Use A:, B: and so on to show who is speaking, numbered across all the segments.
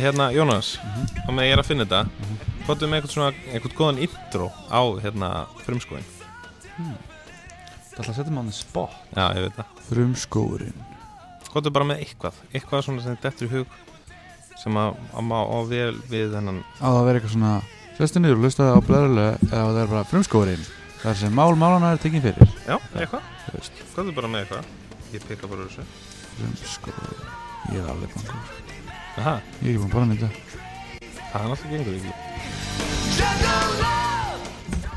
A: Hérna, Jónas, þá með ég er að finna þetta Hvort með eitthvað svona, eitthvað góðan intro á, hérna, frumskóin
B: Það ætla að setja maður spott
A: Já, ég veit það
B: Frumskóurinn
A: Hvort bara með eitthvað, eitthvað svona sem þetta er í hug sem að, að má á vel við hennan
B: Á það að vera eitthvað svona Sestu niður og lustaði á blæðulega Eða það er bara frumskóurinn Það er sem mál málana er tekinn fyrir
A: Já, eitthvað,
B: Þú veist
A: hvort bara með eitthvað Ég peka bara úr þessu
B: Frumskóurinn Ég er alveg bangur
A: Aha,
B: Ég er ekki búin að bara mynda
A: það er náttúrulega gengur ekki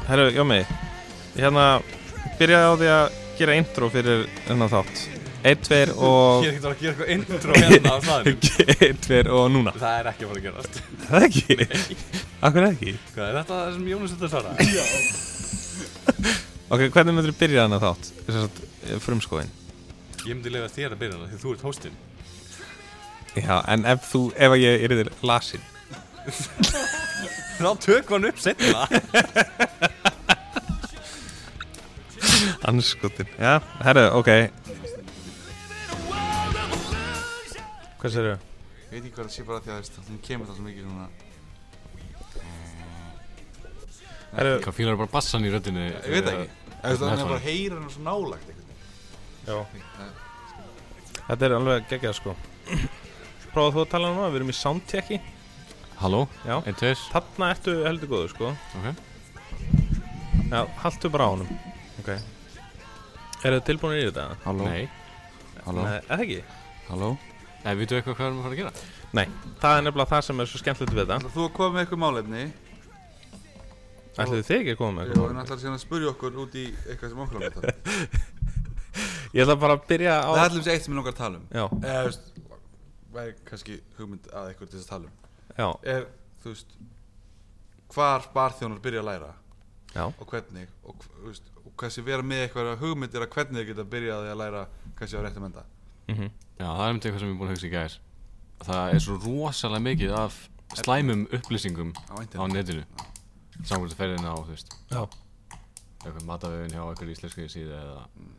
A: Herru, Jómi Ég hérna byrjaði á því að gera intro fyrir hennan þátt 1, 2 og
C: Ég er ekkert að gera eitthvað intro hérna á staðinu
A: 1, 2 og núna
C: Það er ekki að fara að gerast
A: Það ekki? Akkur ekki?
C: Hvað er þetta sem Jónas þetta svara?
A: Ok, hvernig myndir þú byrja hana þátt? eh, Þess að frumskóin
C: Ég myndi lefa þér að byrja hana því þú ert hóstinn
A: Já, en ef þú, ef ég er þér lasin
C: Þá tökum hann upp setna
A: Anskotin Já, herru, ok Hvað sér þau?
D: Ég veit ekki hvað það sé bara því að þú veist, hún kemur það svo mikið svona
A: Herru,
E: Hvað fílar bara bassan í röddinni?
D: Ég veit það ekki Þú veist, hann er
E: það er
D: bara
E: svona.
D: að heyra hann svo nálægt einhvern
A: já
D: veginn
A: Þetta er alveg geggjað sko Prófaðu þú að tala núna, við erum í soundtjekki
E: Halló?
A: Já.
E: Einn, tveis?
A: Þarna ertu heldur góður sko
E: Ok.
A: Já, haltu bara á honum Ok Eru þið tilbúinir í þetta?
B: Halló
E: Nei.
B: Halló
A: Nei, eða ekki?
B: Halló
E: Nei, vitu eitthvað hvað við erum að fara að gera?
A: Nei, það er nefnilega það sem er svo skemmtilegt við þetta
D: Ætlar Þú að koma með eitthvað málefni
A: Ætluðu þið ekki að koma með
D: og hann ætlar síðan að spurja okkur út í eitthvað sem okkur langar að tala um.
A: Ég ætla bara að byrja á
D: Það er allir eitt sem ég langar að tala um
A: Já,
D: Eða, þú veist, væri kannski hugmynd að eitthvað til þess að tala um
A: já,
D: Ef, þú veist, hvar barþjónar byrja að læra
A: já
D: og hvernig og, hv- þú veist, og kannski vera með eitthvað hugmyndir að hvernig þið geta byrjaði að læra kannski á réttum enda
E: Já, það er einmitt eitthvað sem ég er búin að hugsa í gær. Það er svo rosalega mikið af slæmum upplýsingum
D: Á internet.
E: á netinu. Samkvæmst að ferðina á, þú veist,
A: Já,
E: eitthvað matavefin hjá eitthvað íslenskri síðu eða
D: Mm.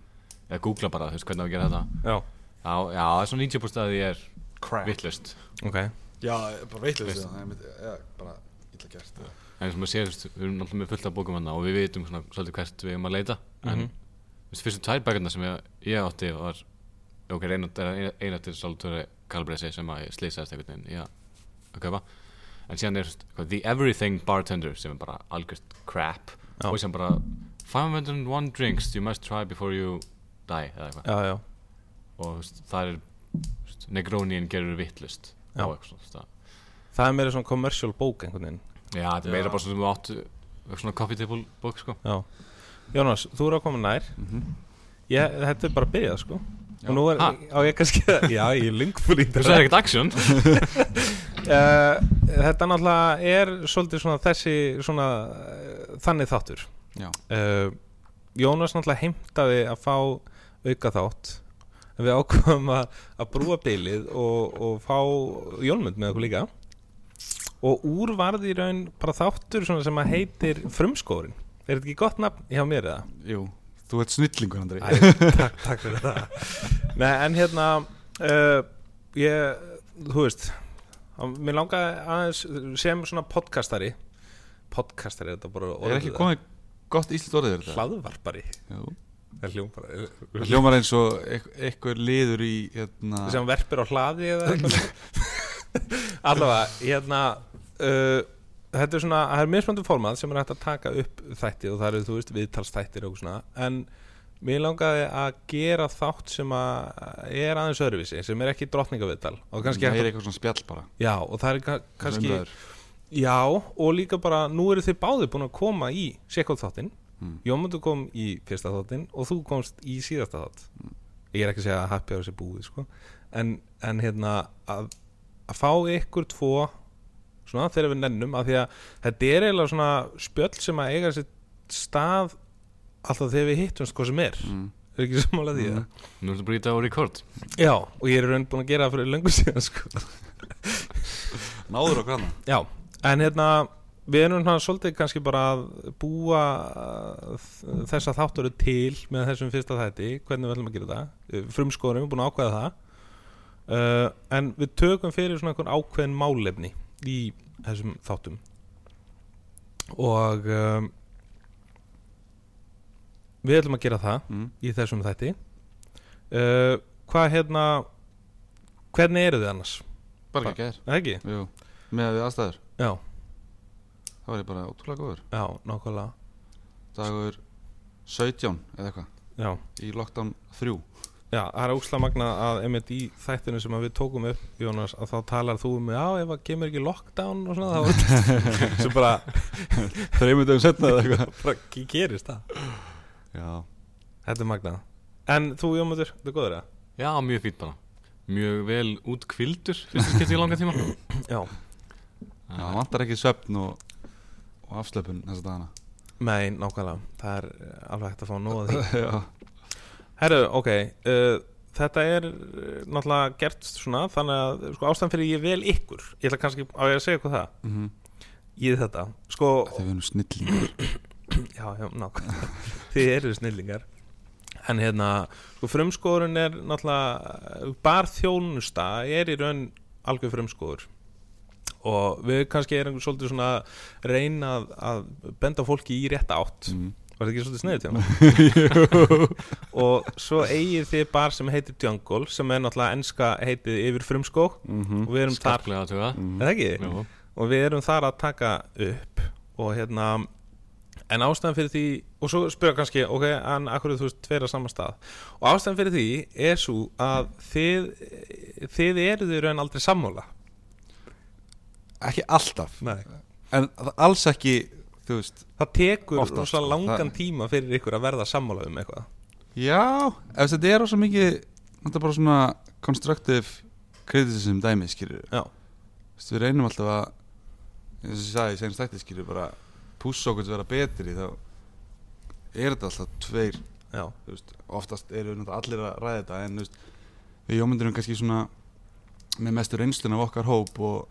E: eða googla bara, þú veist, hvernig á að gera þetta.
A: já,
E: Já, já, það er svona 90% að því er
D: Crap
E: vittlust.
A: ok
D: Já, bara veitlega það, ég myndi, já, bara illa gert eða.
E: En eins og maður sér, þú veist, við erum náttúrulega með fullt af bókum hérna og við vitum svona svolítið hvert við erum að leita.
A: Mhm.
E: En, þú veist, fyrstu tvær bækarna sem ég, ég átti var, ok, eina, eina, eina til Salvatore Calabresi sem að ég sleysaðist einhvern veginn, já, að kaupa. En síðan er, þú veist, hvað, The Everything Bartender sem er bara algjörst crap
A: Já.
E: og sem bara 501 drinks you must try before you die eða eitthvað.
A: Já, já,
E: Og þú veist, það er, þú veist, Negronian gerur vittlust
A: Já.
E: og eitthvað svona, þú veist, það-
A: það er meira svona commercial bók einhvern veginn
E: Já, þetta er meira bara svona áttu, svona coffee table bók, sko.
A: Já, Jónas, þú eru að koma nær ég, Þetta er bara að byrja sko Og nú er,
E: Ha?
A: á ég kannski Já, ég er lungfúl í
E: Þú sagði ekkert action
A: Uh, þetta náttúrulega er svolítið svona þessi svona uh, þannig þáttur
B: Já.
A: uh, Jónas náttúrulega heimtaði að fá auka þátt en við ákvæmum að, að brúa bylið og, og fá Jónmund með okkur líka og úr varði í raun bara þáttur svona sem að heitir frumskórin er þetta ekki gott nafn hjá mér eða?
D: Jú, þú ert snillingur Andri
A: Æ, takk, takk fyrir það Nei, en hérna uh, ég, þú veist á- mér langaði aðeins sem svona podcastari podcastari, þetta bara
D: Er ekki komið gott íslit orðið fyrir þetta?
A: hlaðvarpari
D: Jú.
A: Það er hljómpari
D: Það hljómar eins og eit- eitthvað liður í hérna
A: sem verpir á hlaði eða eitthvað allavega, hérna uh, þetta er svona, það er mismöndu formað sem er hægt að taka upp þætti og það eru, þú veist, viðtalsþættir og eitthvað svona en mér langaði að gera þátt sem að er aðeins öðruvísi, sem er ekki drottningaviðtal og
D: Það
A: kannski,
D: er
A: hægt að,
D: eitthvað svona spjall bara
A: já, og það er ka- kannski
D: Svona umræður.
A: já, og líka bara, nú eru þið báðir búin að koma í sékóð þáttin, mm. Jómundur kom í fyrsta þáttin og þú komst í síðasta þátt ég er ekki að segja að happy hour sé búið sko. en, en hérna að, að fá ykkur tvo svona þegar við nennum af því að þetta er eiginlega svona spjöll sem að eiga sér stað alltaf þegar við hittum sko sem er
B: Mm.
A: er ekki sammála því
B: Mm.
A: mm.
E: Nú ertu bara í dag á rekord
A: já, og ég er í raun búin að gera það fyrir löngu síðan sko
D: Náður okkur hana
A: já, en hérna við erum hann svolítið kannski bara að búa uh, þ- þessa þáttöru til með þessum fyrsta þætti hvernig við ætlum að gera það Uh, frumskoðurum, við erum búin að ákveða það uh, en við tökum fyrir svona einhvern ákveðin málefni í þessum þáttum og um, við ætlum að gera það
B: Mm.
A: í þessum þætti uh, hvað hérna hvernig eru þið annars?
B: Bara ekki gær
A: Er Það ekki?
B: Jú, með að við aðstæður
A: Já,
B: Það var ég bara ótrúlega góður
A: já, nákvæmlega
B: Dagur 17 eða eitthvað
A: Já,
B: Í lockdown 3
A: já það er ókslega magna að einmitt í þættinu sem að við tókum upp Jónas, að þá talar þú um já, ef að kemur ekki lockdown og svona þá sem bara,
B: Þreymur dagum setna eða eitthvað
A: bara ge- gerist það
B: Já
A: Þetta er magna En þú Jómundur, þetta er góður eða?
E: Já, mjög fýtt bara Mjög vel út kvildur Fyrst skipti í langa tíma
A: Já
B: Já, það vantar ekki svefn og, og afslöpun þessa dagana
A: Nei, nákvæmlega, það er eh, alveg hægt að fá nóg að því
B: Já,
A: Herru, ok uh, Þetta er uh, náttúrulega gert svona Þannig að sko, ástæðan fyrir ég vel ykkur Ég ætla kannski á ég að segja eitthvað það
B: Mhm.
A: Ég þetta Sko,
B: þegar við erum snillingur
A: já, já, nákvæmlega Þið eru snillingar En hérna, sko frumskóðurinn er náttúrulega Bar þjónusta er í raun algjör frumskóður Og við kannski erum svolítið svona að Reyna að, að benda fólki í rétta átt
B: mm.
A: Var það ekki svolítið sniðið tjónum? og svo eigið þið bar sem heitir Jungle sem er náttúrulega enska heitið yfir frumskó og við erum þar, Mm.
E: Skarplega að tuga
A: er það ekki?
E: Jú.
A: og við erum þar að taka upp og hérna en ástæðan fyrir því og svo spyrja kannski, ok, en akkur þú veist tveira saman stað og ástæðan fyrir því er svo að þið þið eruð þið raun aldrei sammála
B: Ekki alltaf
A: Nei.
B: En það- alls ekki, þú veist
A: það tekur
B: Oftast,
A: rosa
B: sko.
A: langan
B: Það-
A: tíma fyrir ykkur að verða sammála um eitthvað
B: Já, ef þetta er rosa mikið Þetta er bara svona constructive criticism dæmi, skilur
A: Já.
B: Vist, Við reynum alltaf að eins og ég sagði, senast þetta skilur bara pússa okkur til að vera betri þá er þetta alltaf tveir
A: já,
B: þú veist, oftast eru náttúrulega allir að ræða þetta en þú veist, við jómyndurum kannski svona með mestu reynslun af okkar hóp og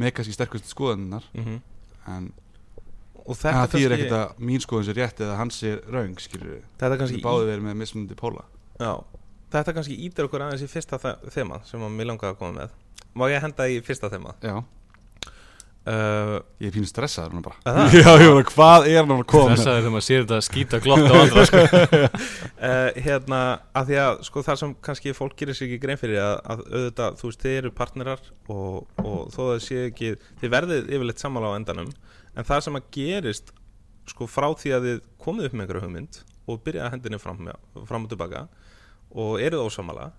B: með kannski sterkust skoðaninnar
A: mm
B: en
A: og þetta
B: það þýr ekkert að mín skoðun sé rétt eða hans sé raung skilur við,
A: þetta kannski
B: við báði verið með mismunandi póla
A: Já, þetta kannski ítir okkur aðeins í fyrsta þe- þema sem að mér langaði að koma með Má ég henda í fyrsta þema?
B: já,
A: Uh,
B: ég er pínu stressaður núna bara
A: það,
B: já, ég var að hvað er hann að koma með?
E: Þessaður þegar maður sér þetta skýta glott á andra sko.
A: uh, hérna, að því að sko það sem kannski fólk gerir sér ekki grein fyrir að, að auðvitað, þú veist, þið eru partnerar og, og þó það sé ekki þið verðið yfirleitt sammála á endanum en það sem að gerist sko frá því að þið komið upp með einhverja hugmynd og byrjaði að hendinni fram, fram og tilbaka og eruð ósammála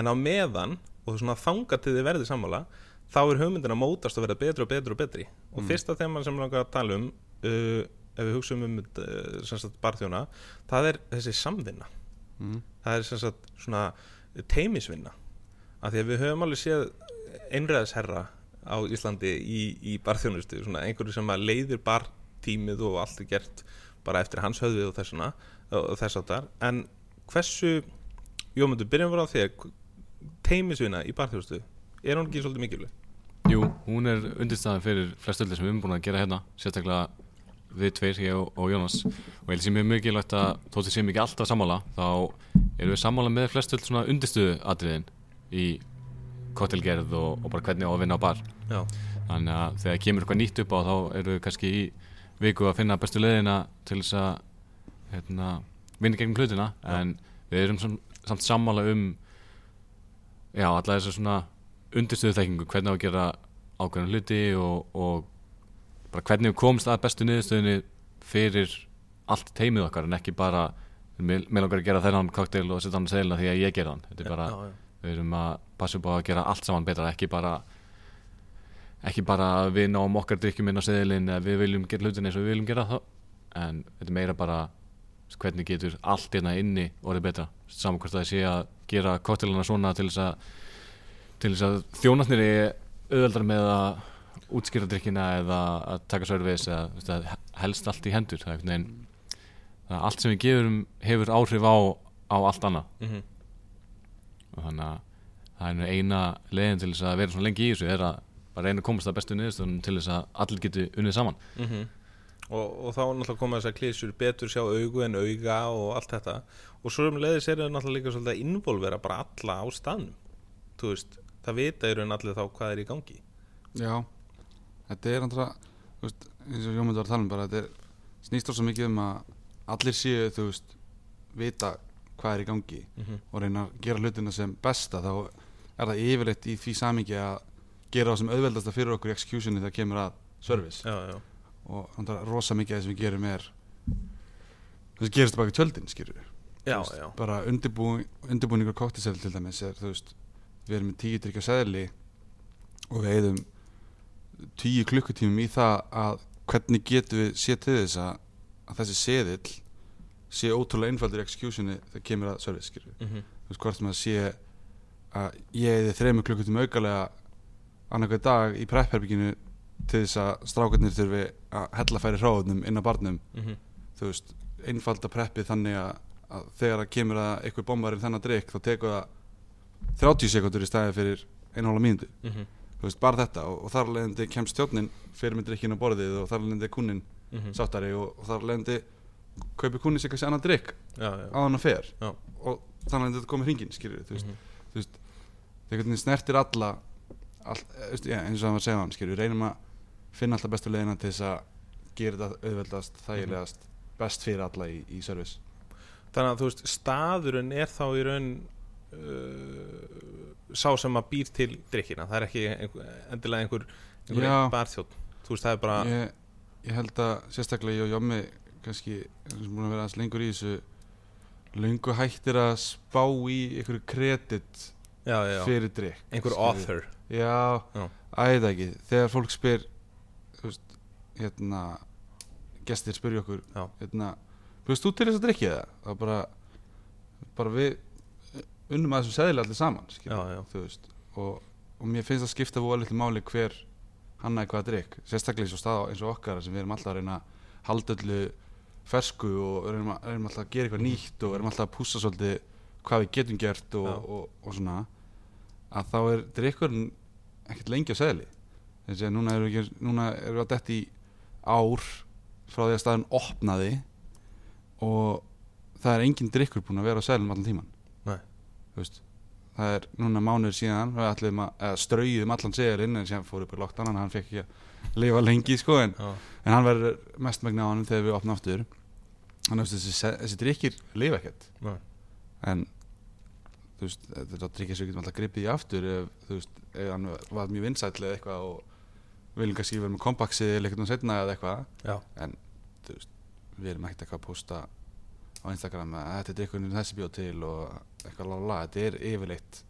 A: en á meðan og svona þanga til þið verðið sammála þá er hugmyndin að mótast og verða betri og betri og betri og fyrsta þema sem langar að tala um uh, ef við hugsaum um uh, sem sagt barþjóna, það er þessi samvinna
B: Mm.
A: það er sem sagt svona teimisvinna af því að við höfum alveg séð einræðisherra á Íslandi í, í barþjónustu, svona einhverju sem að leiðir bartímið og allt er gert bara eftir hans höfði og þessuna og þess áttar, en hversu Jómundur, byrjum við á þér teimisvinna í barþjónustu er hún ekki svolítið mikilvæg?
E: Jú, hún er undirstaðan fyrir flest öllu sem við erum búin að gera hérna Sérstaklega við tveir, ég og, og Jónas Og ég held sem mjög mikilvægt að þótt við séum ekki alltaf sammála Þá erum við sammála með flest öll svona undirstöðu atriðin Í kottilgerð og, og bara hvernig á að vinna á bar
A: Já,
E: Þannig að þegar kemur eitthvað nýtt upp á þá eru við kannski í viku að finna bestu leiðina til þess að hérna, vinna gegnum hlutina en við erum sam, samt sammála um já, alla þess svona undirstöðu þekkingu, hvernig á að gera ákveðan hluti og, og bara hvernig við komumst að bestu niðurstöðinni fyrir allt teimið okkar en ekki bara með langar að gera þennan koktel og setja hann að segla því að ég gera hann þetta er bara,
A: já, já.
E: við erum að passa upp á að gera allt saman betra ekki bara ekki bara að við náum okkar drikkjum inn á seðilinn eða við viljum gera hlutin eins og við viljum gera þá en þetta er meira bara hvernig getur allt hérna inni orðið betra saman hvort það sé að gera koktelana svona til þess að til þess að þjónatnir er auðveldar með að útskýra drikkina eða að taka service eða þú veist, að helst allt í hendur það er einhvern veginn þannig að allt sem við gefurum hefur áhrif á, á allt annað
A: Mhm.
E: og þannig að það er nú eina leiðin til þess að vera svona lengi í þessu er að bara reyna að komast að bestu niðurstöðunum til þess að allir geti unnið saman
A: og, og þá náttúrulega koma þessar klísjur betur sjá augu en auga og allt þetta og svo um leiðis er það náttúrulega líka svolítið að involvera bara alla á staðnum þú veist, það vita í raun allir þá hvað er í gangi
B: Já, þetta er náttúrulega, þú veist, eins og Jómundur var að tala um bara, þetta er, snýst rosa mikið um að allir séu, þú veist, vita hvað er í gangi
A: Mhm.
B: og reyna að gera hlutina sem besta, þá er það yfirleitt í því samingi að gera það sem auðveldasta fyrir okkur í executioni þegar kemur að service
A: já, já,
B: og náttúrulega rosa mikið að það sem við gerum er, þess að gerist baka tjöldin, skilur við
A: já,
B: veist,
A: já.
B: bara undirbúning, undirbúningur koktisel til dæmis er, þú veist, við erum með tíu drikja seðli og við eigðum tíu klukkutímum í það að hvernig getum við séð til þess að, að þessi seðill sé ótrúlega einfaldur í executioni þegar kemur að service skilur
A: Mm -hmm.
B: þú veist hvort maður sé að ég eði þreymur klukkutum aukalega annarkveð dag í prepherbygginu til þess að strákarnir þurfi að hella færi hráðunum inn á barnum þú veist, einfalda preppið þannig að, að þegar að kemur að eitthvað bombar í þennan drikk þá tekur það 30 sekundur í stæði fyrir einhóla mínútu, þú veist, bara þetta og, og þar leðandi kemst stjórnin fyrir með drikkin á borðið og þar leðandi kunnin
A: Mm.
B: sáttari og, og þar leðandi kaupir kunnin sér kannski annan drikk
A: já, já.
B: á hann að fer
A: Já. Mm.
B: og þannig að þetta komið hringin, skilur þú veist, þú veist, þegar hvernig snertir alla all, eh, þú veist, ja, eins og það var að segja á hann, skilur, við reynum að finna alltaf bestu leiðina til þess að gera þetta auðveldast, þægilegast best fyrir alla í, í service
A: þannig að þú veist, staðurinn er þá í raun uh, sá sem að býr til drikkina, það er ekki einhver, endilega einhver, einhver
B: Já.
A: einn barþjótt þú veist, það er bara
B: ég, ég held að sérstaklega ég og Jommi kannski, eins og búin að vera aðeins lengur í þessu lengur hættir að spá í einhverju kredit
A: já, já, já.
B: fyrir drikk
A: einhver
B: skilur.
A: author
B: Já,
A: Já.
B: æða ekki Þegar fólk spyr þú veist, hérna, gestir spyrja okkur
A: Já.
B: hérna, Búist þú til þess að drikja það? Það bara, bara við unnum að þessu seðilega allir saman
A: Já,
B: skilur,
A: já.
B: þú veist og, og mér finnst það skipta fóða litlu máli hver hannaði hvaða drikk sérstaklega eins og stað eins og okkar sem við erum alltaf að reyna að halda öllu fersku og reynum, að, reynum alltaf að gera eitthvað nýtt og erum alltaf að pússa svolítið hvað við getum gert og,
A: Já.
B: og, og, svona að þá er drikkurinn ekkert lengi á seðli þessi að núna erum við, ekki- núna erum við að detti í ár frá því að staðin opnaði og það er engin drikkur búin að vera á seðlum allan tíman
A: Nei.
B: Þú veist, það er núna mánuður síðan við ætlum að, að strauðum allan seðlinn en síðan fór upp í loktan hann fekk ekki að lifa lengi sko en,
A: Já.
B: en hann verður mest megna á hann þegar við opna aftur þannig að þessi, se- þessi drikkir lifa ekkert
A: Nei.
B: en þú veist, þetta drikkir sem við getum alltaf gripið í aftur ef, þú veist, ef eh, hann var mjög vinsæll eða eitthvað og viljum kannski vera með kompaksið eða eitthvað setna eða eitthvað
A: Já.
B: en þú veist, við erum ekkert eitthvað að posta á Instagram að þetta er drikkurinn þessi bjóð til og eitthvað lala, þetta er yfirleitt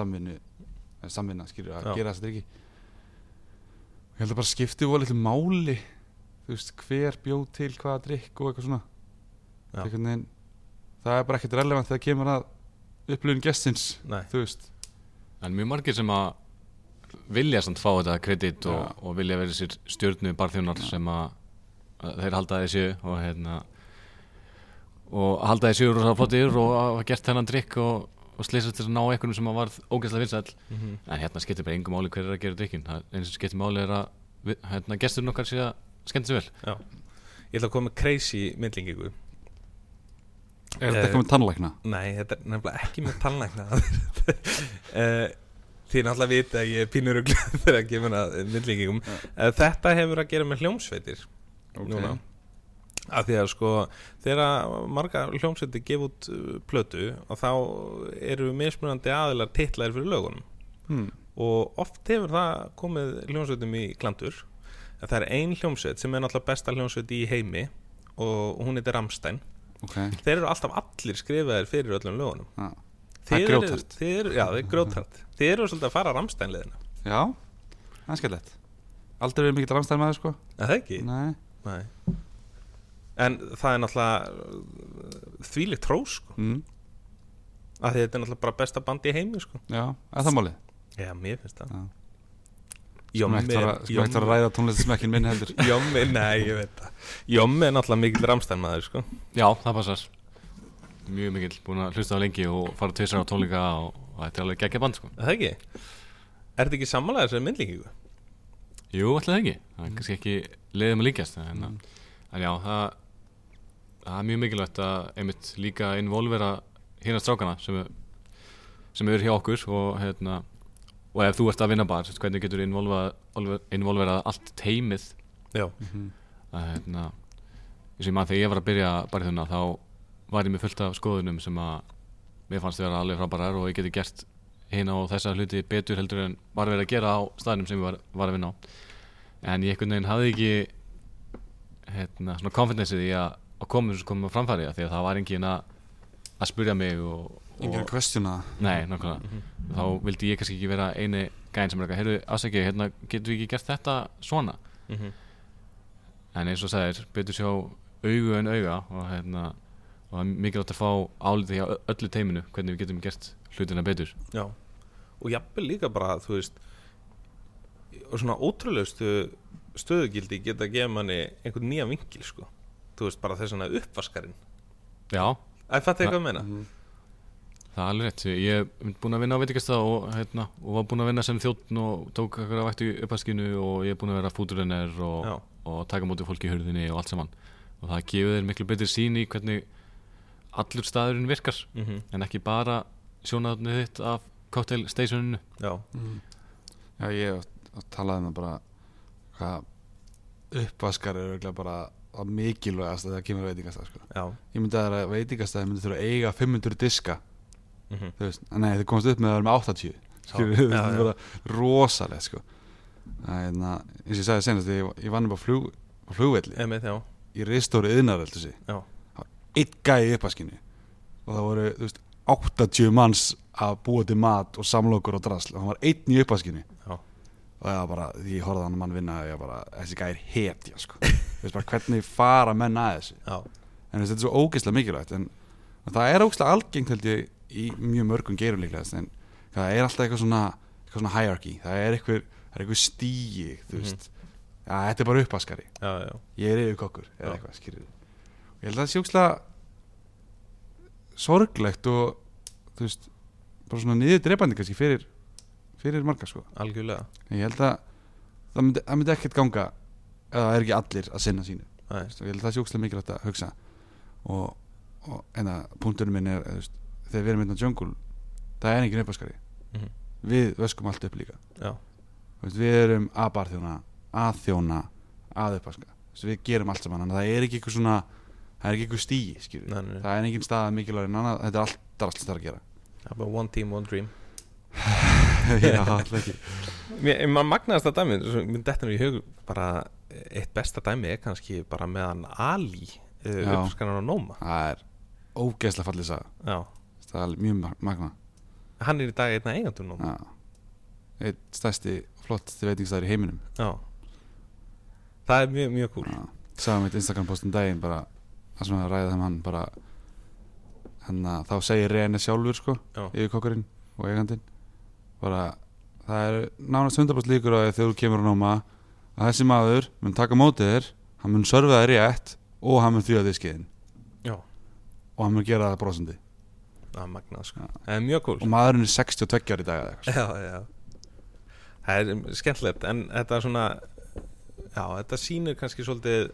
B: samvinnu, eh, samvinna skilur að
A: Já.
B: gera þessa drikki ég held að bara skipti voru litlu máli þú veist, hver bjóð til hvaða drikk og eitthvað svona
A: Já.
B: einhvern veginn það er bara ekkert relevant þegar kemur að upplifun gestins,
A: Nei.
B: þú veist
E: en mjög margir sem að vilja samt fá þetta kredit og, og vilja vera sér stjórnu barþjónar sem að, að þeir halda þessu og hérna og halda þessu og það flottir og hafa gert þennan drikk og, og slýsast til að ná einhvernum sem að varð ógæslega vinsæll en hérna skiptir bara engum máli hver er að gera drikkin eins sem skiptir máli er að við, hérna, gesturinn okkar sé að skemmt sér vel
A: já. ég ætla að koma með crazy myndlingingu
B: er þetta eitthvað með tannlækna?
A: Nei, þetta er nefnilega ekki með tannlækna Eh, Þið náttúrulega vita að ég er pínur og glöð þegar að kemur að myndlíkingum Þetta hefur að gera með hljómsveitir núna að því að sko þegar að marga hljómsveitir gefa út uh, plötu og þá eru mismunandi aðilar titlaðir fyrir lögunum
B: Hmm.
A: og oft hefur það komið hljómsveitum í klandur en það er ein hljómsveit sem er náttúrulega besta hljómsveit í heimi og hún heitir Ramstein
B: ok,
A: þeir eru alltaf allir skrifaðir fyrir öllum lögunum
B: já, Það er
A: Þið eru-
B: grjóthart.
A: þið eru- Já, það er grjótart Þið eru svolítið að fara ramstænleðina
B: já það er skellett aldrei verið mikill rannstæðin maður sko
A: Er það ekki?
B: nei
A: Nei En það er náttúrulega uh, þvílíkt hrós sko
B: mm.
A: að þetta er náttúrulega bara besta band í heimi sko
B: já, er það málið?
A: Já, mér finnst það
B: Já. Sem ekki þarf að- sem ekki þarf að ræða tónlistasmekkin minn heldur
A: Jommi, nei, ég veit það Jommi er náttúrulega mikill Ramstein maður, sko
E: Já, það passar Mjög mikill, búin að hlusta á lengi og fara tvisar á tónleika og, og þetta er alveg geggja band sko
A: Er Það ekki? Er þetta ekki sammálega þessari myndlíkingu?
E: Jú, alltaf ekki, það er kannski ekki leiðum að líkjast en, hérna. en já, það, það er mjög mikilvægt að einmitt líka involvera hérna strákana sem, er- sem eru hjá okkur og, hérna, og ef þú ert að vinna bara, sérst, hvernig getur involverað involvera allt teimið
A: Já
E: að hérna, eins og ég mann þegar ég var að byrja bara þunna þá var ég með fullt af skoðunum sem að mér fannst vera alveg frábærar og ég geti gert hérna og þessa hluti betur heldur en var verið að gera á staðnum sem ég var, var að vinna á en ég einhvern veginn hafði ekki hérna, svona confidence í því að, að koma þessu komum á framfæri af því að það var engin að, að spurja mig og,
B: Engin
E: og
B: að questiona það
E: Nei, nákvæmlega
A: Mhm.
E: Þá vildi ég kannski ekki vera eini gæn sem er eitthvað Heyrðu, afsækið, hérna, getur við ekki gert þetta svona?
A: Mhm.
E: En eins og sagðir, betur sjá augu en auga og hérna og það er mikilvægt að fá álítið hjá ö- öllu teiminu hvernig við getum gert hlutina betur
A: Já Og jafnvel líka bara, þú veist og svona ótrúlegustu stöðugildi geta að gefa manni einhvern nýjan vinkil, sko Þú veist, bara þess að uppvaskarinn
E: Já,
A: Æ, fattu ég hvað að meina?
B: Mm.
E: það er alveg rétt Ég er búin að vinna á veitikastað og, hérna, og var búin að vinna sem þjóttn og tók eitthvað vægt í upphaskinu og ég er búin að vera fúturenner og,
A: Já,
E: og taka móti fólki í hurðinni og allt saman og það gefur þeir miklu betri sín í hvernig allur staðurinn virkar
A: mhm,
E: en ekki bara sjónaðunni þitt af cocktail stationinu
A: já
B: Já, ég hef oft talað um það bara hvað uppvaskar er auðvitað bara að mikilvægast að það kemur veitingastæð sko.
A: Já,
B: Ég myndi að veitingastæð myndi þurfa að eiga 500 diska
A: mhm,
B: þú veist, en nei, þið komast upp með að vera með 80 skilur,
A: Já,
B: þú
A: já,
B: veist, það er
A: já.
B: bara rosalegt sko. en að, eins og ég sagði senast ég, ég vann upp á, flug, á flugvelli
A: emið, já
B: í reistóri yðnar heldur sig
A: Já.
B: eitt gæði uppaskinni og það voru, þú veist, 80 manns að búa til mat og samlokur og drasl og hann var einn í uppaskinni
A: Já.
B: og það var bara, því ég horfði á hann mann vinna og ég bara, þessi gæði er hetja sko. Þú veist bara, hvernig fara menn að þessu
A: Já,
B: en þú veist, þetta er svo ógeðslega mikilvægt en, en það er ógeðslega algengt held ég í mjög mörgum geirum líklegast en það er alltaf eitthvað svona, eitthvað svona hierarchy það er eitthvað, það er eitthvað stíi þú veist, ja, þetta er bara uppaskari
A: já, já
B: ég er yfirkokkur eða
A: Já.
B: eitthvað skýrðu og ég held að það sé ógeðslega sorglegt og þú veist, bara svona niður drefandi kannski fyrir, fyrir marga sko
A: Algjörlega
B: en ég held að það myndi, það myndi ekkert ganga eða það er ekki allir að sinna sínu
A: Nei,
B: Veist, og ég held að það sé ógstlega mikilvægt að hugsa og, og en að punkturinn minn er þú veist, þegar við erum einnig á jungle það er engin uppaskari
A: Mhm.
B: við vöskum allt upp líka
A: Já.
B: Þú veist, við erum að barþjóna, að þjóna að uppaska, Þú veist, við gerum allt saman en það er ekki eitthvað svona það er ekki eitthvað stíi, skilur
A: nei, nei, nei.
B: það er engin stað mikilvægur en annað, þetta er allt drasl það er að gera
A: Það er bara one team, one dream
B: Já, alltaf ekki.
A: Mér, maður magnaðast að dæmi svo minn dettur mér í hug bara eh, eitt besta dæmi er kannski bara meðan Ali
B: Já.
A: uh, uppskannar á Nóma
B: það er ógeðslega fallið saga
A: já.
B: það er mjög mag- magna
A: hann er í dag einna eigandur Nóma
B: Já. einn stærsti flott veitingstæður í heiminum
A: já. það er mjög, mjög cool
B: Já. sagði mitt Instagram postum daginn bara það sem að ræða þeim hann bara hann að þá segir Rene sjálfur sko
A: Já.
B: yfir kokkurinn og eigandinn bara það er nánast 100% líkur að þegar þú kemur á nóma að þessi maður mun taka á mótið þér hann mun sörfa þér rétt og hann mun þvíða diskiðin
A: Já.
B: og hann mun gera það brosandi
A: það er magnað sko
B: Já.
A: það er mjög cool
B: og maðurinn er 62 ári í dag eða eitthvað sko.
A: já, já. það er skemmtilegt en þetta er svona já, þetta sýnir kannski svolítið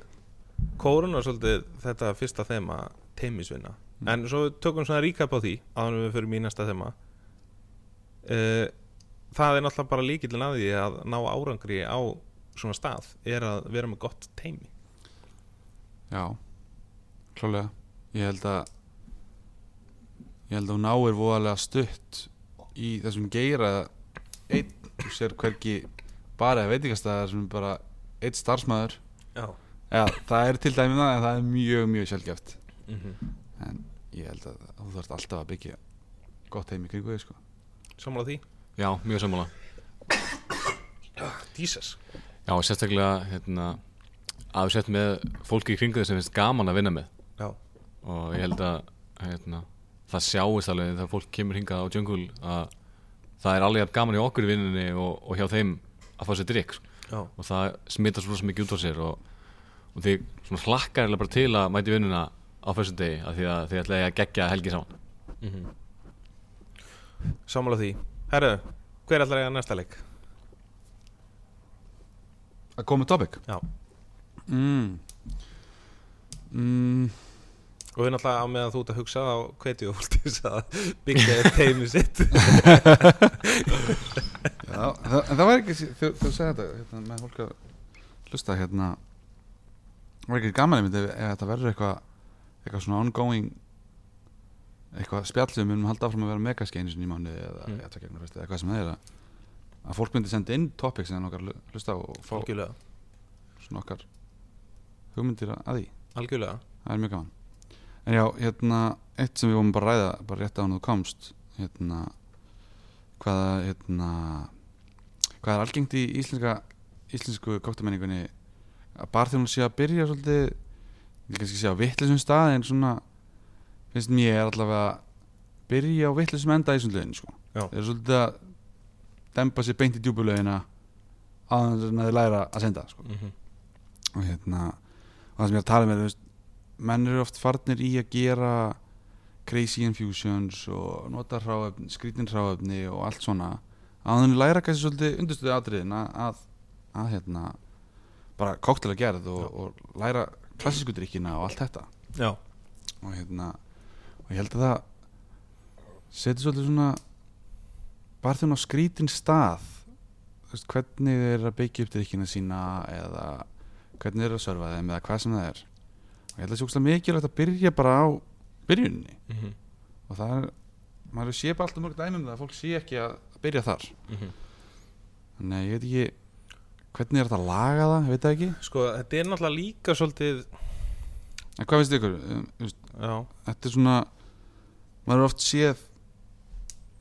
A: kórun og svolítið þetta fyrsta þema teimisvinna en svo við tökum svona recap á því áður en við fyrir mínasta þema uh, það er náttúrulega bara líkillin að því að ná árangri á svona stað er að vera með gott teimi
B: já klálega ég held að ég held að hún náir voðalega stutt í þessum geira einn þú sér hvergi bara eða veitingastæðar sem er bara einn starfsmæður
A: já,
B: eða það er til dæmi um það en það er mjög mjög sjálfgeft
A: mm
B: ég held að þú þarfst alltaf að byggja gott heim í kringu þig sko
A: sammála því
E: Já, mjög sammála
A: Jesus
E: Já, og sérstaklega hérna, að við sett með fólki í kringu þeir sem finnst gaman að vinna með
A: já,
E: og ég held að hérna, það sjáist alveg þegar fólk kemur hingað á jungle að það er alveg jafn gaman í okkur í vinnunni og, og hjá þeim að fá sér drikk sko.
A: Já.
E: og það smita svo rosa mikið út á sér og, og því svona hlakkar eiginlega bara til að mæti vinnuna á fyrstu degi af því að þið ætlaði að gegja helgi saman
A: Mhm. Sammála því Herru, hver ætlar að eiga næsta leik?
B: að koma með topic
A: Já.
B: mm. Mm.
A: Og við náttúrulega á meðan þú ert að hugsa á hvetju og til þess að byggja upp teimi sitt
B: Já, það, en það var ekki þú, þú segði þetta hérna, með fólk að hlusta hérna það var ekki gaman einmitt ef, ef þetta verður eitthvað eitthvað svona ongoing eitthvað spjallum um að halda áfram að vera megaskeinu sinni í mánuði eða
A: Mm.
B: mm. eða eitthvað sem það er að, að fólk myndi senda inn topics sem okkar hlusta á og fá
A: Algjörlega
B: svona okkar hugmyndir að- að því
A: Algjörlega
B: það er mjög gaman en já, hérna, eitt sem við vorum bara að ræða bara rétt á hann þú komst hérna, hvaða hérna, hvað er algengt í íslenska íslensku kóktamenningunni að barþjónum sé að byrja svolítið ég kannski sé á vittlisum stað en svona, finnst mér allavega að byrja á vittlisum enda í þessum lögin, sko,
A: Já.
B: þeir eru svolítið að dempa sér beint í djúbulögina aðeins en að þeir læra að senda, sko
A: mm -hmm.
B: og hérna og það sem ég er að tala með veist, menn eru oft farnir í að gera crazy infusions og nota hráöfni, skrítin hráöfni og allt svona að hann læra kannski svolítið undurstöðu atriðin að, að, að hérna bara kóktilega gerð og, og læra klassísku drikkina og allt þetta
A: Já
B: og hérna og ég held að það setur svolítið svona bara þeim á skrítin stað þú veist, hvernig þeir eru að byggja upp drikkina sína eða hvernig þeir eru að sörfa þeim eða hvað sem það er og ég held að það sé ókslega mikilvægt að byrja bara á byrjuninni
A: mm -hmm.
B: og það er, maður sé bara alltaf mörg dæmi um það að fólk sé ekki að byrja þar þannig að ég veit ekki hvernig er þetta að laga það, ég veit það ekki
A: Sko, þetta er náttúrulega líka svolítið
B: en hvað finnst ykkur, um, þú veist,
A: Já
B: þetta er svona maður er oft séð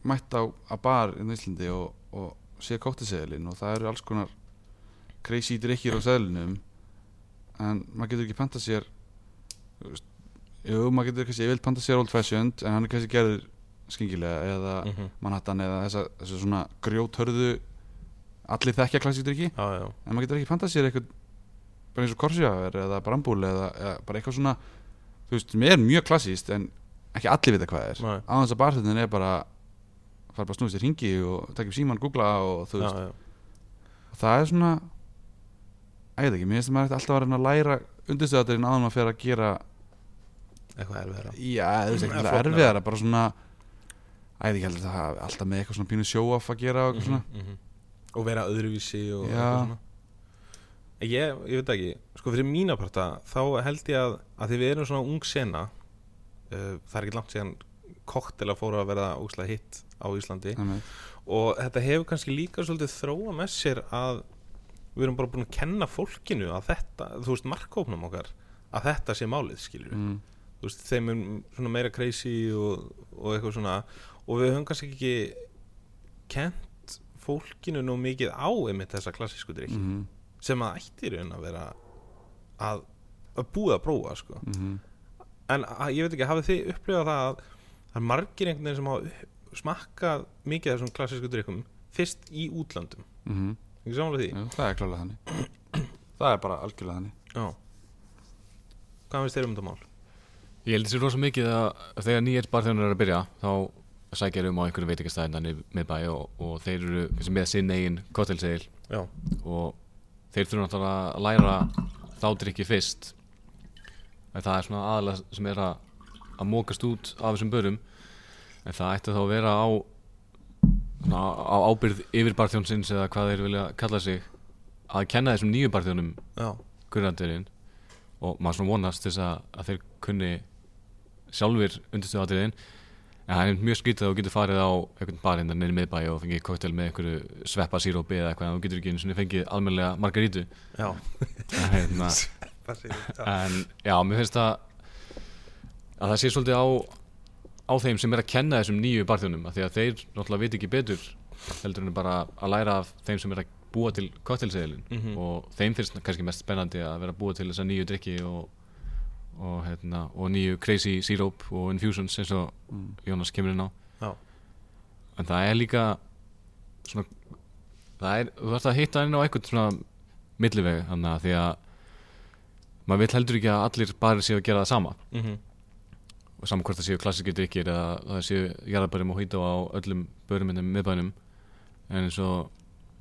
B: mætt á, á bar í Íslandi og, og séð kóttiseðilin og það eru alls konar crazy drikkir á seðlinum en maður getur ekki panta sér þú veist, jú, maður getur kannski ég vil panta sér old fashioned en hann er kannski gerður skingilega eða
A: mm -hmm.
B: Manhattan eða þessa, þessa svona grjóthörðu allir þekkja klassík drikki
A: Já, já
B: en maður getur ekki panta sér eitthvað bara eins og korsjáver eða brambúl eða, eða bara eitthvað svona þú veist, sem er mjög klassíst en ekki allir vita hvað það
A: Nei.
B: er á þess að barþjóðin er bara fara bara að snúið sér hringi og taka upp síman, googla og þú
A: Já,
B: veist,
A: já,
B: það er svona að ég veit ekki, mér finnst að maður ætti alltaf að reyna að læra undirstöðatirinn áðan maður fer að gera
A: eitthvað er verið
B: já, þú veist,
A: Eða
B: ekki
A: flóknara.
B: erfiðara bara svona, að ég veit ekki heldur það hafi alltaf með eitthvað svona pínu sjóaf að gera og eitthvað svona,
A: Og vera öðruvísi og
B: Já.
A: eitthvað svona. Ég, ég veit ekki Sko, fyrir mína parta Þá held ég að Að því við erum svona ung sena uh, Það er ekki langt síðan Koktel að fóru að verða óslega hitt á Íslandi
B: mm
A: og þetta hefur kannski líka svolítið þróa með sér að við erum bara búin að kenna fólkinu að þetta, þú veist, markkópnum okkar að þetta sé málið, skilur við
B: -hmm.
A: þú veist, þeim er svona meira crazy og, og eitthvað svona og við höfum kannski ekki kent fólkinu nú mikið á einmitt þessa klassísku drikki
B: Mm -hmm.
A: sem að ætti í raun að vera að, að búið að prófa, sko en að, ég veit ekki, hafið þið upplifað það að það er margir einhvern veginn sem hafa upp- smakkað mikið af þessum klassísku drikkum fyrst í útlöndum ekki samanlega því?
B: Jú, mhm, það er klálega þannig Það er bara algjörlega þannig
A: Já Hvað finnst þér um þetta mál?
E: Ég held þessi rosa mikið að þegar nýjir barþjónar eru að byrja þá sækja þeir um á einhverju veitingastæðinni með bæ og, og þeir eru kannski með sinn eigin kottelsegil
A: Já,
E: og þeir þurfa náttúrulega að læra þá drikki fyrst en það er svona aðalega sem er að, að mókast út af þessum börum en það ætti þá að vera á, svona, á ábyrð yfirbarþjónsins eða hvað þeir vilja kalla sig að kenna þessum nýju barþjónum
A: já,
E: kunnandurinn og maður svona vonast til þess að, að þeir kunni sjálfur undirstöðatriðin en það er mjög skrítið að þú getur farið á einhvern hérna barinn þar neyri miðbæi og fengið koktel með einhverju sveppa sírópi eða eitthvað en þú getur ekki einu sinni fengið almennilega margarítu
A: já
E: En hérna,
A: Það sé ég
E: en já, mér finnst það að það sé svolítið á á þeim sem er að kenna þessum nýju barþjónum af því að þeir náttúrulega veit ekki betur heldur en bara að læra af þeim sem er að búa til koktelseðilin
A: Mhm.
E: og þeim finnst kannski mest spennandi að vera að búa til þessa nýju drikki og, og, hérna, og nýju crazy syrup og infusions eins og Jónas kemur inn á
A: Já.
E: en það er líka svona það er, þú þarfst að hitta inn á eitthvað svona milliveg þannig að því að maður vill heldur ekki að allir barir séu að gera það sama
A: Mhm.
E: og saman hvort það séu klassiki drikkir eða það séu jarðabæri mojito á öllum börum hérna miðbænum en eins og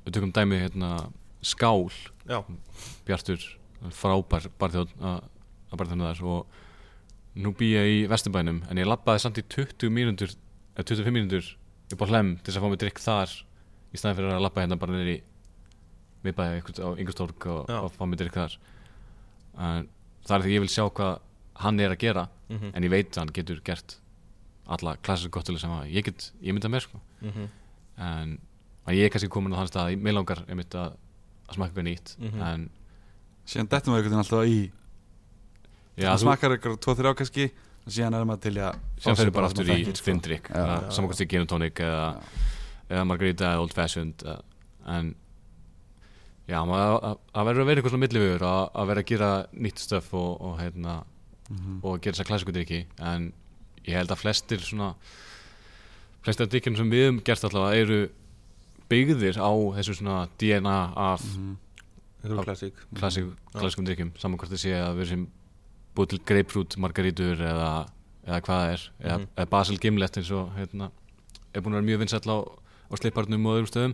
E: við tökum dæmið hérna skál
A: Já.
E: Bjartur hann er frábær barþjóð að barþjóðna þar og nú bý ég í Vesturbænum en ég labbaði samt í 20 mínútur eða 25 mínútur upp á hlem til þess að fá mig drikk þar í staðin fyrir að labba hérna bara niður í miðbæði á yngustorg og,
A: Já.
E: og fá mig drikk þar en það er því ég vil sjá hvað hann er að gera
A: Mhm.
E: en ég veit að hann getur gert alla klassir gottilega sem að ég get ég mynda mér sko
A: Mhm.
E: en að ég er kannski komin á þann stað að mig langar einmitt að, að smakka eitthvað nýtt
A: Mhm.
E: en
B: síðan dettum við einhvern veginn alltaf í
E: já,
B: það
E: þú
B: smakkar ykkur 2-3 kannski og síðan er maður til í að fá
E: sem
B: sér
E: fyrir bara
B: það sem
E: aftur
B: maður
E: í
B: þekkir, sko.
E: findrykk
B: Já, já,
E: samakvæmst í gin og tonic eða, eða margarita eða old fashioned eða, en já, maður- að að verður að vera eitthvað svona millivegur að að vera að gera nýtt stöf og, og hérna og gera þess að klassiku drikki en ég held að flestir svona flestir af drikkjum sem við um gert allavega eru byggðir á þessu svona DNA af
A: Þetta er klassík
E: klassik, klassikum drikkjum saman hvort það sé að við sem búið til grapefruit margarítur eða, eða hvað það er eða,
A: Mhm.
E: eða basil gimlet eins og hérna, er búin að vera mjög vinsall á, á sleiparnum og öðrum stöðum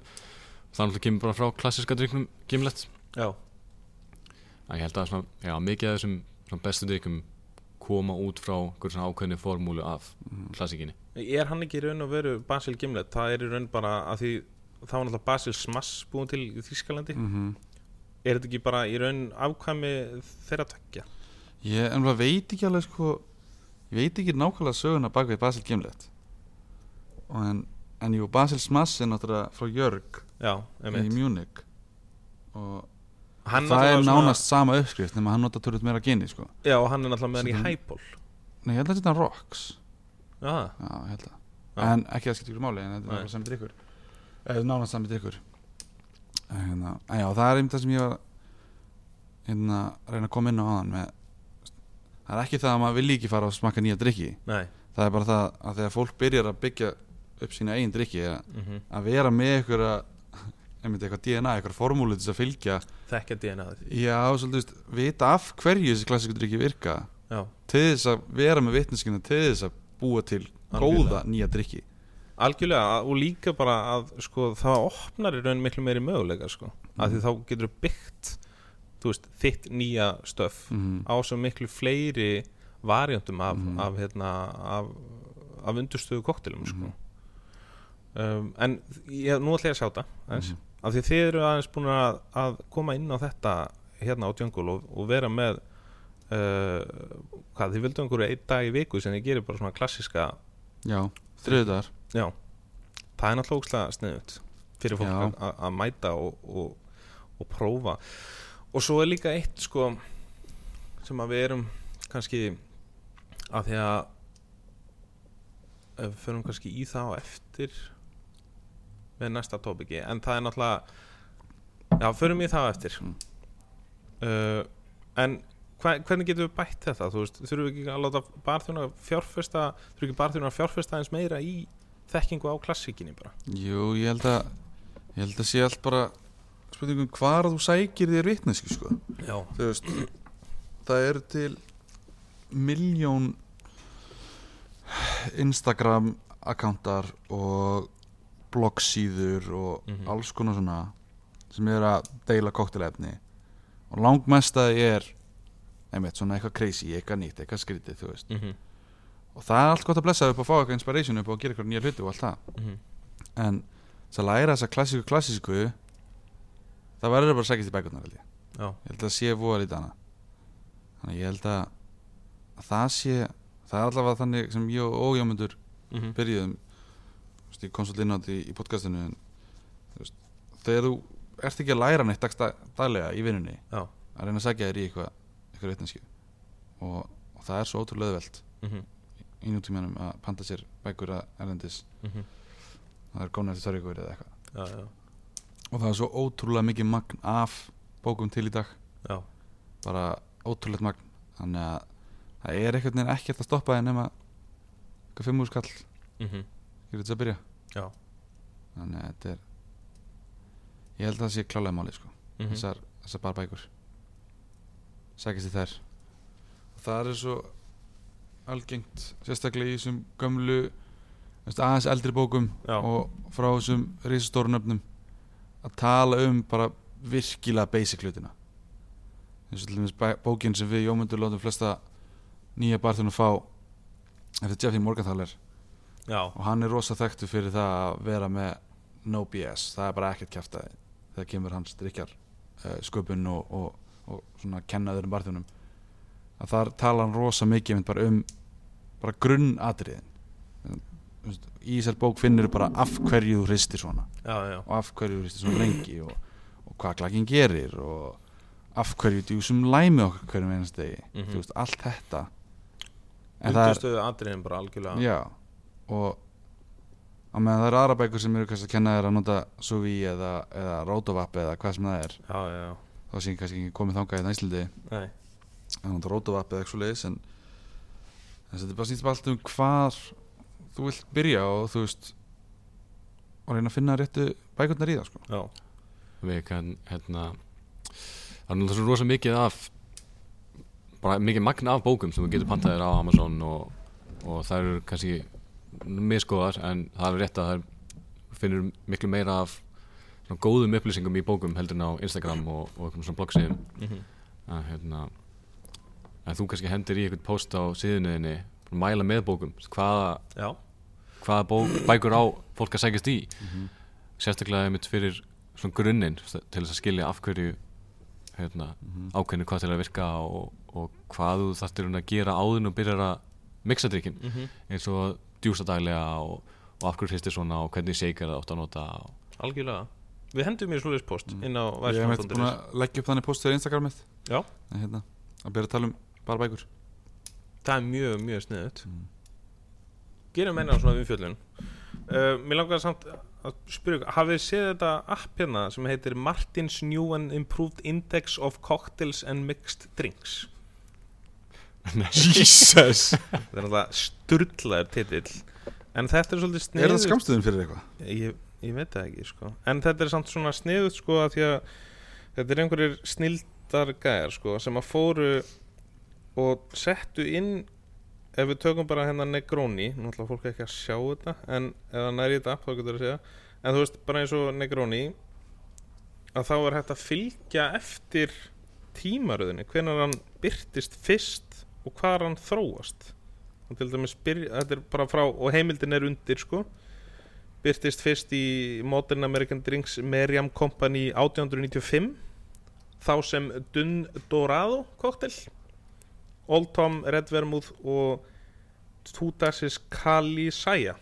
E: þannig að kemur bara frá klassiska drikkjum gimlet
A: Já,
E: að ég held að svona, já, mikið af þessum svona bestu drikkjum koma út frá einhverjum svona ákveðni formúlu af klassikinni
A: er hann ekki í raun og veru Basil Gimlet, það er í raun bara að því það var náttúrulega Basil Smass búin til í Þýskalandi,
B: Mhm.
A: er þetta ekki bara í raun afkvæmi þeirra tvekja?
B: Ég ennlega veit ekki alveg sko Ég veit ekki nákvæmlega söguna bak við Basil Gimlet og en, en jú, Basil Smass er náttúrulega frá Jörg
A: Já,
B: í
A: einmitt
B: Munich og
A: Hann
B: það er
A: náttúrulega svona-
B: nánast sama uppskrift nema hann nota törut meira geni sko
A: Já, og hann er náttúrulega með hann í
B: Sem-
A: hæból
B: Nei, ég held að þetta er rocks
A: Já,
B: Já, ég held að
A: Já.
B: En ekki að skipta ykkur máli, en þetta er
A: Nei.
B: náttúrulega sami drikkur Eða nánast sami drikkur En hérna, en já, það er einmitt það sem ég var hérna, að reyna að koma inn á aðan með Það er ekki það að maður vilji ekki fara að smakka nýja drikki
A: nei
B: það er bara það að þegar fólk byrjar að byggja upp sína eigin drikki að,
A: mm
B: að vera með einhverja einmitt eitthvað DNA, eitthvað formúlu til þess að fylgja
A: Þekkja DNA-ið,
B: já, svolítið, veist, vita af hverju þessi klassíku drikki virka
A: já
B: til þess að vera með vitneskina til þess að búa til góða
A: Algjörlega.
B: nýja drikki
A: Algjörlega, að- og líka bara að sko, það opnar í raun miklu meiri möguleika sko. mm. að því þá getur byggt þú veist, þitt nýja stöf
B: Mhm.
A: á svo miklu fleiri variantum af,
B: Mhm.
A: af, hérna, af, af undurstöðu koktelum sko. um, en ég, nú ætla ég að sjá það aðeins, af því að þið eru aðeins búin að, að koma inn á þetta hérna á Djöngul og, og vera með uh, hvað, þið vildu einhverju einn dag í viku sem þið gerir bara svona klassiska
B: já, þriðdagar
A: Já, það er náttúrulega ógslag sniðut fyrir fólk
B: Já.
A: að- að að mæta og, og, og prófa og svo er líka eitt sko sem að við erum kannski að því að ef við förum kannski í það á eftir með næsta tópiki en það er náttúrulega já, förum í það á eftir uh, en hva, hvernig getum við bætt þetta þú veist, þurfum við ekki að láta barþjóna fjárfesta þurfum ekki barþjóna fjárfesta eins meira í þekkingu á klassíkinni bara
B: jú, ég held að ég held að sé allt bara spurningum hvar þú sækir þér vitneski sko
A: já,
B: þú veist það eru til miljón Instagram akkántar og bloggsíður og
A: Mhm.
B: alls konar svona sem eru að deila koktelefni og langmestaði er einmitt svona eitthvað crazy, eitthvað nýtt, eitthvað skrítið þú veist,
A: mm
C: Mhm.
A: -hmm.
B: og það er allt gott að blessa upp að fá eitthvað inspiration upp og gera eitthvað nýja hluti og allt það
A: Mhm.
B: en þess að læra þessa klassíku klassísku það verður bara að sækist í bækurnar held ég
A: já,
B: ég held að sé voða lítið annað þannig að ég held að, að það sé það er allavega þannig sem ég og ójámyndur
A: mm -hmm.
B: byrjuðum Þú veist, ég kom svolítið inn á þetta í, í podcastinu en, þú veist, þegar þú ert ekki að læra neitt dagsta, daglega í vinnunni
A: Já.
B: að reyna að sækja þér í eitthvað eitthvað vitneski og, og það er svo ótrúlega öðvelt
A: Mhm,
B: í nútímanum um að panta sér bækur að erlendis
A: Mhm.
B: það er góna eftir törri ykkur eða eitthvað
A: já, já,
B: og það er svo ótrúlega mikið magn af bókum til í dag
A: já,
B: bara ótrúlegt magn þannig að það er einhvern veginn ekkert að stoppa þig nema eitthvað fimm úr skall
A: mm -hmm.
B: getur þetta að byrja
A: Já.
B: þannig að þetta er ég held að það sé klálega máli sko.
A: Mhm.
B: þessar, þessar barbækur sækist þið þær og það er svo algengt sérstaklega í þessum gömlu þú veist, aðeins eldri bókum
A: Já.
B: og frá þessum risastórunöfnum að tala um bara virkilega basic hlutina eins og til dæmis bæ- bókin sem við Jómundur látum flesta nýja barðunum fá eftir Jeffy Morgenthaler
A: já,
B: og hann er rosa þekktu fyrir það að vera með no BS, það er bara ekkert kjæft þegar kemur hans drikjar uh, sköpun og, og, og svona kennaðurum barðunum að þar tala hann rosa mikið einmitt bara um bara grunnatriðin Þú veist, í þessar bók finnur bara af hverju þú hristir svona
A: já, já
B: og af hverju þú hristir svona lengi og, og hvað klakinn gerir og af hverju djúsum læmi okkur hverjum einast degi
A: Mhm.
B: þú veist, allt þetta En það er-
A: Undurstöðu atriðin bara algjörlega
B: Já, og á meðan það eru aðra bækur sem eru kannski að kenna þér að nota Suvi eða, eða Rotovapp eða hvað sem það er
A: Já, já, já,
B: þá sé ég kannski ekki komið þangað í Íslandi
A: nei
B: að nota Rotovapp eða eitthvað svoleiðis en en þetta er bara snýst bara allt um hvar þú vilt byrja og þú veist og reyna að finna réttu bækurnar í það sko.
A: Já,
E: við kann, hérna það er náttúrulega svo rosa mikið af bara mikið magna af bókum sem þú getur pantað þér á Amazon og, og það eru kannski miskoðar en það er rétt að það finnur miklu meira af svona, góðum upplýsingum í bókum heldur en á Instagram og, og einhverjum svona bloggsíðum að hérna að þú kannski hendir í einhvern post á síðunniðinni mæla með bókum hvaða
A: já,
E: hvaða bók, bækur á fólk að sækjast í sérstaklega einmitt fyrir svona grunninn st- til þess að skilja af hverju hérna, ákveðinu hvað til að virka og, og hvað þú þarftir að gera áðun og byrjar að mixa drikkin eins og að djúsa daglega og, og af hverju hristir svona og hvernig seikar það átt að nota og,
A: algjörlega Við hendum mér slúðis post inn á
B: Mm. ég hef meitt búin
A: værsmann.is
B: að leggja upp þannig post þegar Instagram mitt
A: Já,
B: en hérna, að byrja að tala um bara bækur
A: það er mjög, mjög sniðut
B: Mm.
A: Gerum meina svona umfjöllun uh, Mér langar samt að spyrja Hafið þið séð þetta app hérna sem heitir Martins New and Improved Index of Cocktails and Mixed Drinks
B: Jesus!
A: Það er náttúrulega sturlaður titill En þetta er svolítið sniðut
B: er það skamstuðin fyrir eitthvað?
A: ég, ég veit það ekki sko. en þetta er samt svona sniðut sko, af því að þetta er einhverjir snildar gæjar sko, sem að fóru og settu inn ef við tökum bara hérna Negroni náttúrulega fólk er ekki að sjá þetta en eða næri þetta app þá getur það að segja en þú veist bara eins og Negroni að þá er hægt að fylgja eftir tímaröðinni hvenær hann byrtist fyrst og hvar hann þróast og til dæmis byrja, þetta er bara frá og heimildin er undir sko byrtist fyrst í Modern American Drinks Merriam Company 1895 þá sem Dun Dorado koktel Old Tom Red Vermouth og Tudasis Kali Saya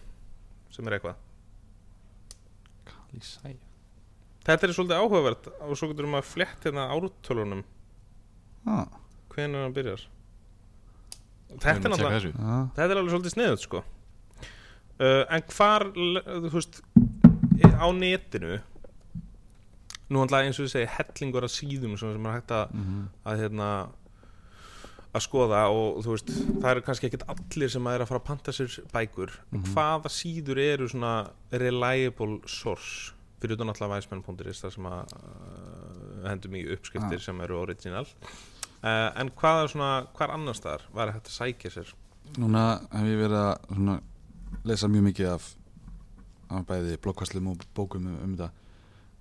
A: sem er eitthvað þetta er svolítið áhugavert og svo getur maður flett hérna ártölunum
B: Ah,
A: hvenær hann byrjar þetta er
E: Við erum að
A: náttúrulega
E: tjekka þessu.
B: ah.
A: Þetta er alveg svolítið sniðut sko uh, En hvar le- Þú veist e- Á netinu Nú handla eins og við segja hellingur að síðum svona sem er hægt að,
B: Mhm.
A: að hérna að skoða og þú veist það eru kannski ekkit allir sem að er að fara að panta sér bækur en hvaða síður eru svona reliable source fyrir utan alltaf væsmenn.is þar sem að uh, hendum í uppskriftir sem eru original uh, en hvaða svona, hvar annars þar væri hægt að sækja sér
B: Núna hef ég verið að svona, lesa mjög mikið af, af bæði blokkvastlum og bókum um, um þetta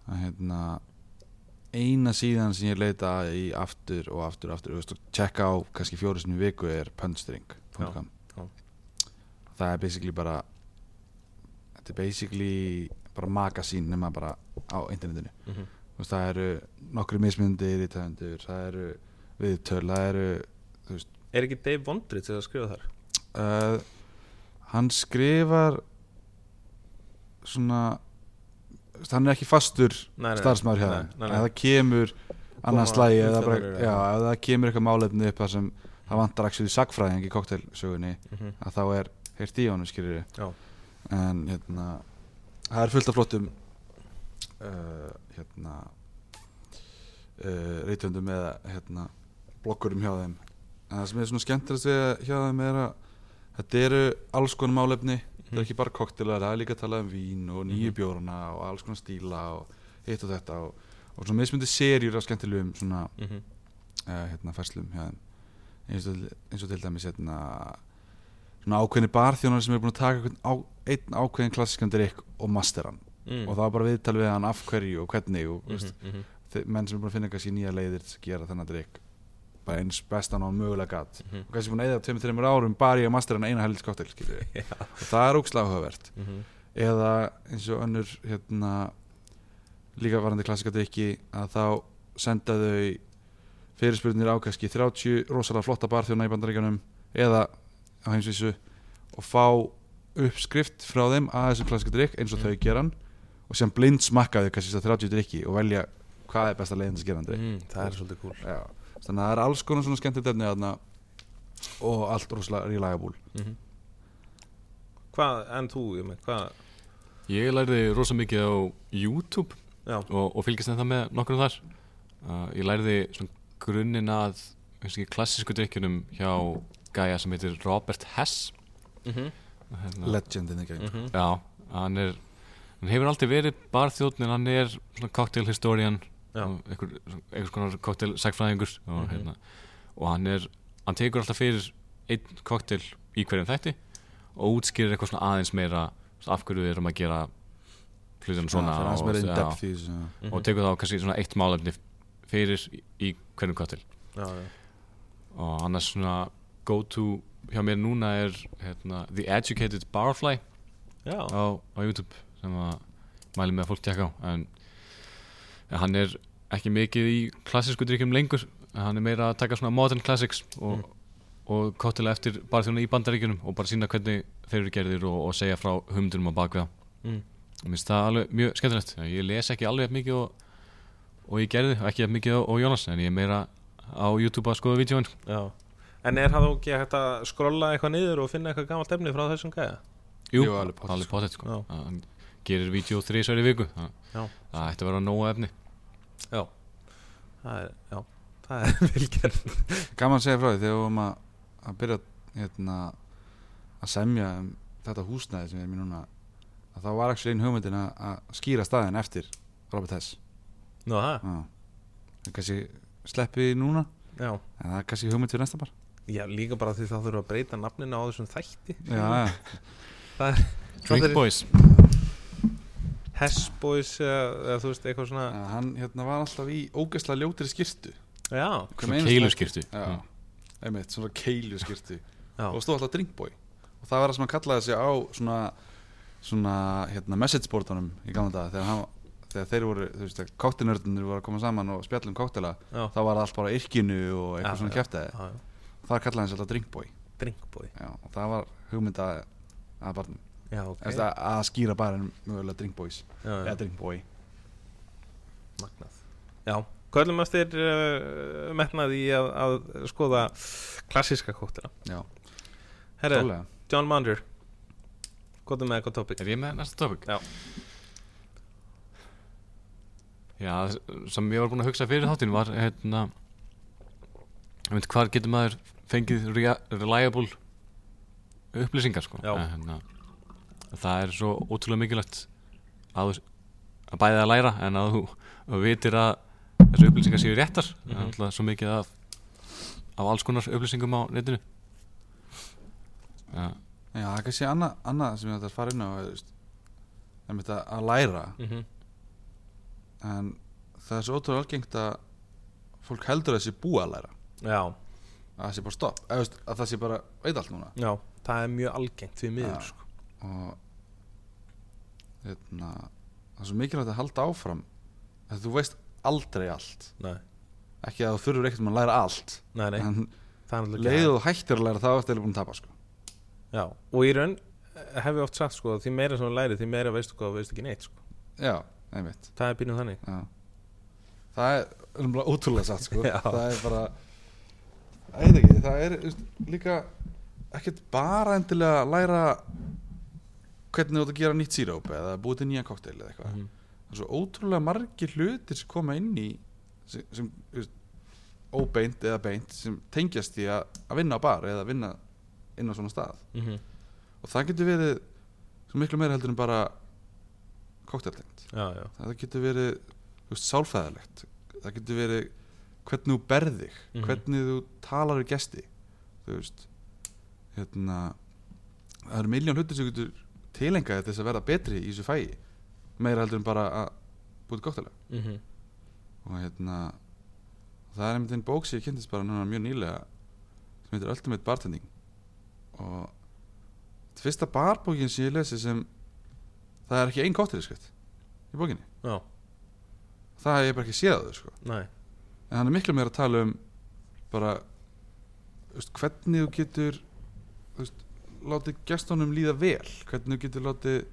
B: að hérna eina síðan sem ég leita í aftur og aftur og aftur þú veist, og tjekka á kannski fjóru sinni í viku er punstring.com
A: Já, já.
B: það er basically bara þetta er basically bara magasín nema bara á internetinu
A: Mhm.
B: þú veist, það eru nokkru mismunandi rítæfundur, það eru viðtöl, það eru
A: Er ekki Dave Vondrits að skrifa þar?
B: uh, hann skrifar svona þú veist, hann er ekki fastur
A: Nei, nei, nei.
B: starfsmæður hjá
A: Nei,
B: þeim
A: nei, nei.
B: ef það kemur annars
A: Koma
B: slagi eða bara,
A: umfjallanir,
B: já,
A: já.
B: ef það kemur eitthvað málefni upp þar sem það vantar actually sagfræðing í kokteilsögunni
A: Mhm.
B: að þá er heyrt í honum skilur
A: Já.
B: en hérna það er fullt af flottum uh, hérna uh, reytöndum eða hérna blokkurum hjá þeim en það sem er svona skemmtilegast við hjá þeim er að þetta eru alls konar
A: Mhm.
B: málefni þetta er ekki bara koktelar, það er líka að tala um vín og nýju bjórna og alls konar stíla og hitt og þetta og, og svona mismyndi serjur af skemmtilegum svona
A: Mhm.
B: uh, hérna, færslum hjá þeim eins og, til- eins og til dæmis hérna, svona ákveðni barþjónar sem er búin að taka einhvern á, einn ákveðin klassiskan drikk og masteran
A: Mm.
B: og það var bara viðtal við hann af hverju og hvernig og mm
A: Mhm, mhm.
B: -hmm. menn sem er búin að finna kannski nýja leiðir til að gera þennan drikk bara eins bestan á mögulega gatt
A: Mhm.
B: og kannski búin að eða tveimur, þreimur árum bara í að masteran eina helgis kóttel og það er ógslag áhugavert
A: Mhm.
B: eða eins og önnur hérna, líka varandi klassika drikki að þá senda þau fyrirspurnir á kannski 30 rosalega flotta barþjóna í bandaríkjanum eða á heimsvísu og fá uppskrift frá þeim að þessum klassika drikk eins og
A: Mhm.
B: þau gera hann og sem blind smakka þau kannski þess 30 drikki og velja hvað er besta leiðin til að gera hann drikk
A: Mm, Það er svolítið cool
B: Já, þannig að það er alls konar svona skemmtilegt efni þarna og allt rosalega rílægabúl
A: Hvað, en þú, ég með, hvað
E: Ég lærði rosa mikið á YouTube
A: Já,
E: og, og fylgist þetta með nokkrum þar uh, Ég lærði svona grunninn að kannski, klassísku drikkjunum hjá gæja sem heitir Robert Hess
A: Mhm.
E: hérna,
B: legend in the game
E: Já, hann er hann hefur aldrei verið barþjóðn en hann er svona cocktail historian
A: Já.
E: og einhver, einhvers konar cocktail sagfræðingur og,
B: Mhm.
E: hérna, og hann er hann tekur alltaf fyrir einn cocktail í hverjum þætti og útskýrir eitthvað svona aðeins meira svona af hverju við erum að gera hlutina svona
B: það er aðeins
E: og,
B: meira in
E: já,
B: depth í þessu já.
E: og tekur þá kannski svona eitt málefni fyrir í, í hverjum cocktail
A: já, já
E: og annars svona go to hjá mér núna er hérna, The Educated Barfly
A: Já,
E: á, á YouTube sem að mæli með að fólk tjekka á en, en hann er ekki mikið í klassísku drikkjum lengur en hann er meira að taka svona modern classics og, og kottilega eftir bara þjóna í bandaríkjunum og bara sína hvernig þeir eru gerðir og, og segja frá humdunum á bakveða
A: Mm.
E: og mér finnst það alveg mjög skemmtilegt ég les ekki alveg jafn mikið og, og ég gerði ekki jafn mikið og, og Jónas en ég er meira á YouTube að skoða vídjóin
A: já En er það þó ekki hægt að skrolla eitthvað niður og finna eitthvað gamalt efni frá þessum gæja?
E: Jú,
B: Jú, alveg
E: alveg
B: pottet, sko.
E: pottet sko.
A: Já.
E: Að hann gerir vídjó þrísværi viku það
A: Já.
E: það ætti að vera nóga efni
A: Já Það er, já, það er vilgerð
B: gaman að segja frá því þegar við vorum að, að byrja hérna, að semja um þetta húsnæði sem við erum í núna að þá var ekki einn hugmyndin að, að skýra staðin eftir Robert Hess
A: Nú, það,
B: Já. það kannski sleppi því núna
A: já
B: en það er kannski hugmynd fyrir næsta bar
A: Já, líka bara því það þurfa að breyta nafninu á þessum þætti
B: já, já.
A: Það
E: Drink
A: er-
E: Boys
A: Hessboys, uh, eða þú veist, eitthvað svona
B: En hann hérna, var alltaf í ógeðslega ljótri skýrtu
A: Já,
E: Svona keiluskirtu
B: já, einmitt, svona keilu skýrtu
A: já,
B: og stóð alltaf drinkboy og það var það sem hann kallaði sig á svona, svona hérna, message boardunum í gamla daga þegar, hann, þegar þeir voru, þú veist, káttinördunir voru að koma saman og spjalla um káttila
A: já,
B: þá var það allt bara á yrkinu og eitthvað
A: Já,
B: svona
A: já.
B: kæftæði
A: já
B: það kallaði hann sig alltaf drinkboy
A: Drinkboy
B: já, og það var hugmynd að, að barnum
A: Já, ok
B: okay. að, að skýra bara mögulega drinkboys
A: já, já.
B: eða drinkboy
A: Magnað Já, köllum eftir uh, metnaði í að, að skoða klassíska kóttela
B: já,
A: Herra,
B: tólega
A: John Munder Hvað er með eitthvað topic?
E: Er ég með næsta topic?
A: Já.
E: Já, það sem ég var búinn að hugsa fyrir þáttinn var hérna ég veit hvar getur maður fengið rea- reliable upplýsingar sko
A: Já.
E: Eh, hérna, Það er svo ótrúlega mikilvægt að, þú- að bæði að læra en að þú að vitir að þessu upplýsingar séu réttar það er alltaf svo mikið af, af alls konar upplýsingum á netinu Já,
B: já, það er kannski annað anna sem ég ætla að fara inn á þú veist, einmitt að, að læra
A: Mm -hmm.
B: en það er svo ótrúlega algengt að fólk heldur að það sé búið að læra
A: Já,
B: að það sé bara stopp eða, þú veist, að það sé bara veit allt núna
A: já, það er mjög algengt því miður
B: Já.
A: sko.
B: og hérna, það er svo mikilvægt að halda áfram að þú veist aldrei allt
A: Nei,
B: ekki að þú þurfur ekkert um að læra allt
A: nei, nei,
B: en
A: það er náttúrulega
B: leiðu þú hættir að læra þá ertu eiginlega búin að tapa sko.
A: Já, og í raun eh, hef ég oft sagt sko, því meira sem þú læri, því meira veistu hvað og veistu ekki neitt sko.
B: já, einmitt
A: Það er býnum þannig
B: já. það er umlega ótrúlega satt sko.
A: Já.
B: það er bara ég veit ekki, það er þú veist, líka ekkert bara endilega að læra hvernig þú ert að gera nýtt síróp eða búið til nýja kokteil eða eitthvað
A: Mhm.
B: það er svo ótrúlega margir hlutir sem koma inn í sem, sem þú veist, óbeint eða beint sem tengjast í að, að vinna á bar eða vinna inn á svona stað
A: mm
B: og það getur verið svo miklu meira heldur en bara kokteiltengt
A: Já, já,
B: það getur verið þú veist, sálfræðilegt það getur verið hvernig þú berðig
A: Mhm.
B: hvernig þú talar við gesti þú veist hérna það eru miljón hlutir sem getur tilengað þess að verða betri í þessu fæi meira heldur en bara að búið gott
A: Mhm.
B: og hérna það er einmitt einn bók sem ég kynntist bara núna mjög nýlega sem heitir Ultimate Bartending og þetta er fyrsta barbókin sem ég lesi sem það er ekki ein kóttiliskrið í bókinni
A: Já,
B: það hef ég bara ekki séð á þau sko
A: næ
B: en hann er miklu meira að tala um bara þú veist, hvernig þú getur þú veist, látið gestunum líða vel hvernig þú getur látið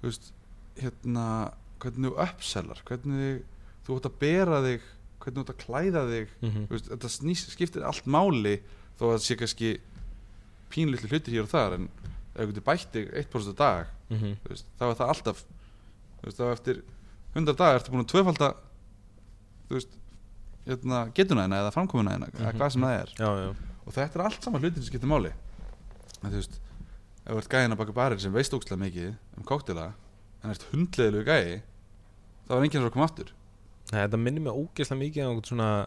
B: þú veist, hérna, hvernig þú uppsellar hvernig þú átt að bera þig hvernig þú átt að klæða þig
A: Mhm.
B: þú veist, þetta snýs, skiptir allt máli þó að það sé kannski pínlítið hlutir hér og þar en ef þú getur bætt þig 1% á dag
A: Mhm.
B: þú veist, þá er það alltaf þú veist, þá eftir 100 dagar ertu búin að tvöfalda þú veist, hérna, getuna þína eða framkomuna þína, eða
A: Mhm.
B: hvað sem það er
A: Já, já
B: og þetta er allt saman hlutin sem skiptir máli en, þú veist, ef þú ert gæðin að baka barinn sem veist ókslega mikið um kóktela en ert hundleðilegu gæði þá er enginn að koma aftur
A: Nei, þetta minnir mig ógeðslega mikið á einhvern svona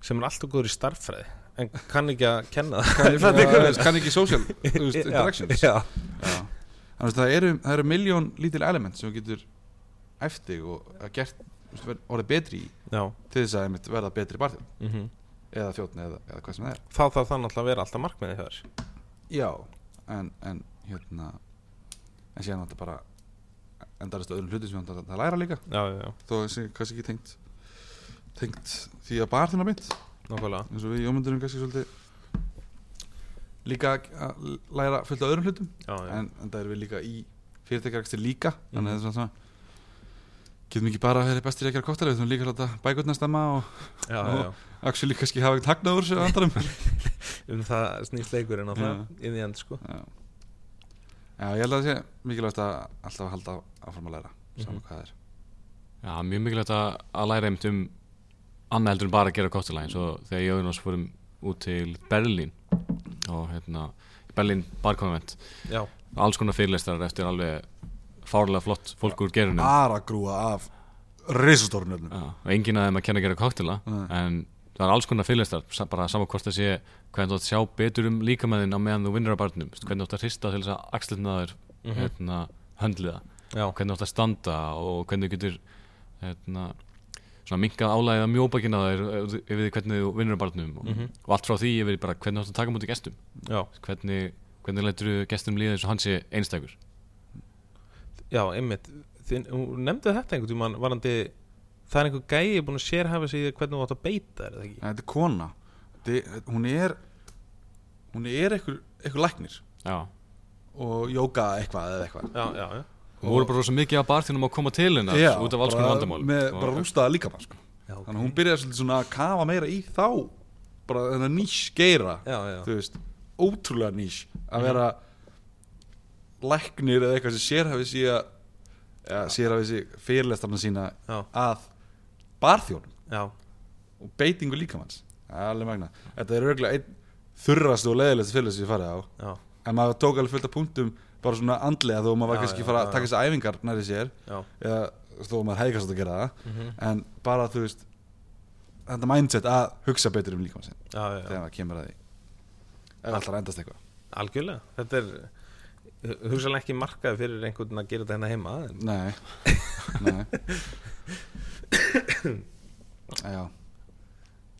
A: sem er alltaf góður í starffræði en kann ekki að kenna það
B: kann,
A: fann ekki-
B: ja, kann ekki social þú veist,
A: Já,
B: interactions
A: Já,
B: Já. Þannig að það eru, það eru miljón lítil element sem þú getur eftir og gert, þú veist, verið- orðið betri í
A: já
B: til þess að einmitt verða betri barþjóð
A: mm
B: eða þjóttn eða, eða hvað sem það er
A: Þá þarf það náttúrulega að vera alltaf markmiði hjá þér
B: já en, en hérna en síðan þetta bara endarist öðrum hlutum sem hann það læra líka
A: Já, já, já,
B: þó þessi kannski ekki tengt tengt því að barðina mynd
A: nákvæmlega
B: eins og við jómundurum kannski svolítið líka að læra fullt af öðrum hlutum
A: Já, já,
B: en, en það erum við líka í fyrirtækjaraksti líka þannig að það er svona svona getum ekki bara að vera bestir í að gera kóttar við þurfum líka að láta bækurnar stemma og
A: já, já, já.
B: actually kannski hafa eitthvað hagnað úr þessu andarum
A: Um það snýst leikurinn á það inn í end, sko
B: Já. Já, ég held að það sé mikilvægt að alltaf halda áfram að læra saman hvað það er
E: Já, mjög mikilvægt að, að læra einmitt um annað heldur en bara að gera kokteila eins og þegar ég og Jónas fórum út til Berlín og hérna Berlín barkonvent
A: Já,
E: alls konar fyrirlestrar eftir alveg fárlega flott fólk úr gerunum
B: Ah.
F: Bara grúa af risastórnum
E: Já, og enginn af þeim að kenna að gera kokteila en það er alls konar fyrirlestrar sa- bara saman hvort það sé hvernig þú átt að sjá betur um líkamæðin á meðan þú vinnur á barnum Veistu, hvernig þú átt að hrista til þess að axlirna þér hérna, höndliða
A: já,
E: og hvernig þú átt að standa og hvernig þú getur hérna, svona minkað álæðið að mjóbakina þér eh, yfir því hvernig þú vinnur á barnum og,
B: Mhm.
E: og allt frá því yfir í bara hvernig þú átt að taka mútið gestum
A: já,
E: hvernig, hvernig lætur þú gestum líða eins og hann sé einstakur
A: já, einmitt Þinn, hún nefndi þetta einhvern tímann varandi það er einhver gæi búin að sérhæfa sig í því hvernig þú átt að beita, er það ekki?
B: En þetta er kona þetta, hún er hún er einhver, einhver læknir
E: Já.
B: og jóka eitthvað eða eitthvað
A: Já, já, já,
E: og voru bara rosa mikið að barþjónum að koma til hennar út af alls konar
B: bara
E: vandamál
B: með,
E: Og-
B: bara rústaða líka mann sko.
A: já, ok.
B: þannig að hún byrjar svolítið svona að kafa meira í þá bara þennan nýs geira
A: já, já,
B: þú veist, ótrúlega nýs að vera læknir eða eitthvað sem sérhafið sig að ja, sérhafið sig fyrirlestarna sína
A: Já.
B: að barþjónum
A: já,
B: og beitingu líkamanns Það er alveg magna, þetta er rauglega einn þurrast og leðilegst fyrir sem ég farið á
A: já,
B: en maður tók alveg fullt af punktum bara svona andlega þó maður var
A: Já,
B: kannski
A: já,
B: fara
A: já,
B: að taka þessi æfingar næri sér
A: já,
B: eða þó maður hefði kannski átt að gera það
A: Mhm.
B: en bara þú veist þetta mindset að hugsa betur um líkamann sinn
A: já, já, já.
B: þegar maður kemur að því ef alltaf að endast eitthvað
A: Algjörlega, þetta er hugsaðan ekki markaði fyrir einhvern að gera þetta hérna heima en,
B: Nei, nei Já,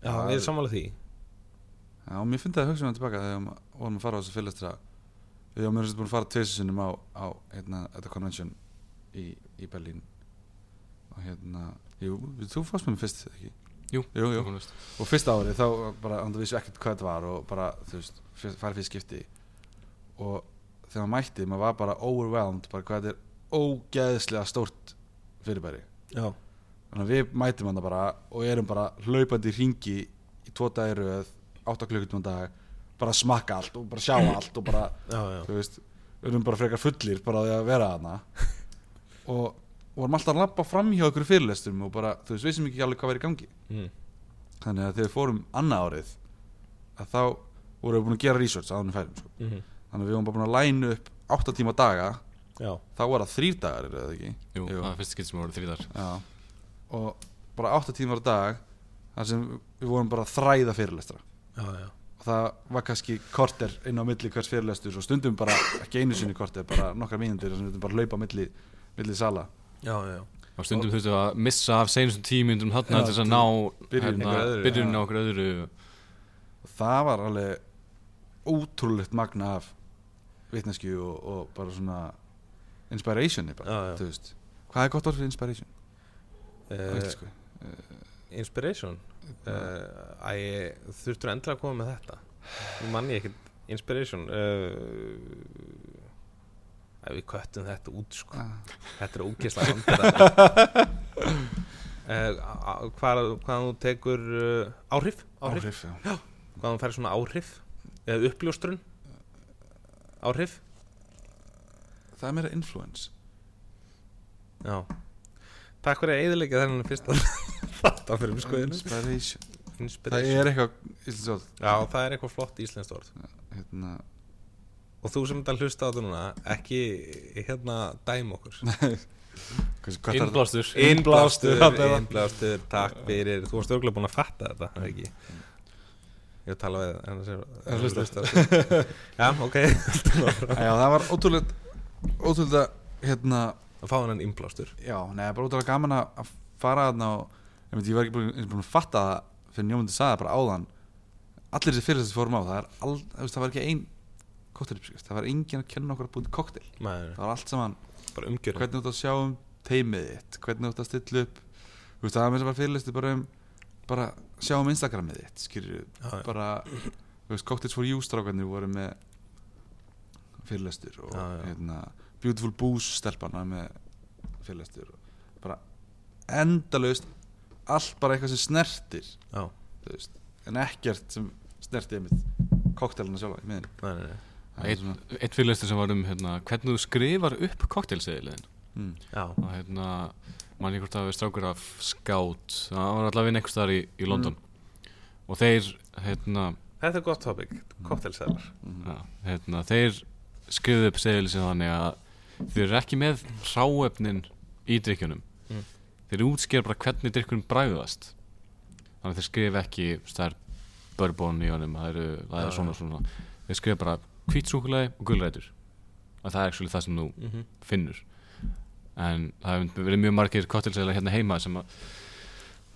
A: Já, ég er sammála því
B: já og mér finnst það að hugsa um það tilbaka þegar ma- vorum að fara á þessu fyrirlestra við varum erum búin að fara tveisinsunum á, á hérna, þetta convention í, í Berlín og hérna, jú, þú fórst með mér fyrst eða ekki
E: Jú,
B: jú, jú.
E: Hún veist.
B: og fyrsta árið þá bara hann vissi ekkert hvað þetta var og bara þú veist, fyrst- farið fyrir skipti og þegar maður mætti, maður var bara overwhelmed, bara hvað þetta er ógeðslega stórt fyrirbæri
A: Já,
B: þannig að við mætum hann bara og erum bara hlaupandi í ringi í tvo dagir röð, átta klukkutum á dag bara að smakka allt og bara sjá allt og bara,
A: já, já,
B: þú veist við erum bara frekar fullir bara á því að vera hana og vorum alltaf að labba fram hjá okkur fyrirlestum og bara, þú veist, veistum ekki alveg hvað væri í gangi
A: mm.
B: þannig að þegar við fórum annað árið að þá vorum við búin að gera research að hann færum sko.
A: Mm
B: þannig að við vorum bara búin að læna upp átta tíma daga
A: já.
B: þá var það þrýr dagar, er það ekki?
E: Jú, það er fyrst skilt sem voru þrýðar
B: Já, og bara 8 tímar á dag þar sem við vorum bara að þræða fyrirlestra
A: já, já.
B: og það var kannski korter inn á milli hvers fyrirlestur og stundum bara ekki einu sinni korter, bara nokkra mínundir sem við þurfum bara að laupa á milli, milli sala
A: já, já.
E: og stundum þurftu að missa af seinustu tímyndum þarna
B: Já,
E: til þess að ná
B: byrjun
E: hérna,
A: einhverju öðru,
E: byrjun á okkur öðru
B: og það var alveg ótrúlegt magna af vitneskju og, og bara svona inspirationi
A: Já,
B: bara,
A: já.
B: þú veist hvað er gott orð fyrir inspiration?
A: Uh,
B: Uh,
A: inspiration uh, Æ, þurftur endilega að koma með þetta Nú mann ég ekkert Inspiration uh, Æ, við köttum þetta út sko.
B: Ah,
A: Þetta er ógislega vandræðalegt. uh, á- á- hvar- Hvaðan þú tekur uh, áhrif, áhrif.
B: áhrif, já
A: Hvaðan þú færir svona áhrif Eða uppljóstrun Áhrif
B: það er meira influence
A: Já Takk fyrir að eðilegja þennan fyrsta Þetta fyrir um skoðinu
B: inspiration það
A: Inspiration
B: er eitthvað íslensk orð
A: Já, það er eitthvað flott íslenskt orð
B: hérna,
A: Og þú sem þetta hlusta á þetta núna, ekki hérna dæm okkur.
B: hversu, hvað þarf það?
E: innblástur
A: Innblástur,
B: allavega.
A: innblástur, takk fyrir. Þú varst örgulega búin að fatta þetta, er það ekki? Ég er að tala við það, annars er
B: Það hlustar.
A: hlusta. Já, ok.
B: já, það var ótrúlegt ótrúlega hérna,
A: Að fá hennan innblástur.
B: já, neða, bara ótrúlega gaman að- að fara þarna og ég, veit, ég var ekki búin, eins og búin að fatta það fyrir njómundi sagði það bara áðan allir þessi fyrirlestur sem fórum á, það, er all, það, veist, það var ekki ein kokteluppskrift, það var engin að kenna okkur að búin koktel,
A: Maður,
B: það var allt saman
A: bara umgjörðin.
B: hvernig þú ert að sjá um teimið þitt hvernig þú ert að stilla upp þú veist, það var mér sem var fyrirlistu bara um bara sjá um Instagramið þitt skýrðu,
A: Já, já.
B: bara þú veist, Cocktails for You strákarnir voru með fyrirlestur og
A: Já, já.
B: Hérna, Beautiful Booze stelpana með fyrirlestur og bara endalaust allt bara eitthvað sem snertir
A: Já,
B: þú veist, en ekkert sem snertir einmitt koktelina sjálfa í miðin
A: nei, nei, nei.
B: það er
E: Einn
B: svona,
E: eitt fyrirlestur sem var um hérna, hvernig þú skrifar upp koktelseðilin
B: mm,
A: Já,
E: og hérna mann ég hvort að við strákur af skátt það var allavega inn einhvers staðar í,
A: Mm.
E: í London og þeir hérna,
A: þetta er gott topic, koktelsælar.
E: ja, hérna þeir skrifuðu upp seðil sem þannig að þeir eru ekki með hráefnin í drikkjunum
A: Mm.
E: þeir útskýra bara hvernig drikkjunum bræðast þannig að þeir skrifa ekki stær bourbon í honum það eru,
A: Já,
E: það eru svona svona þeir skrifa bara kvítsúkulegi og gulrætur að það er actually það sem þú
A: Mm -hmm.
E: finnur en það hefur verið mjög margir koktelsæðilega hérna heima sem að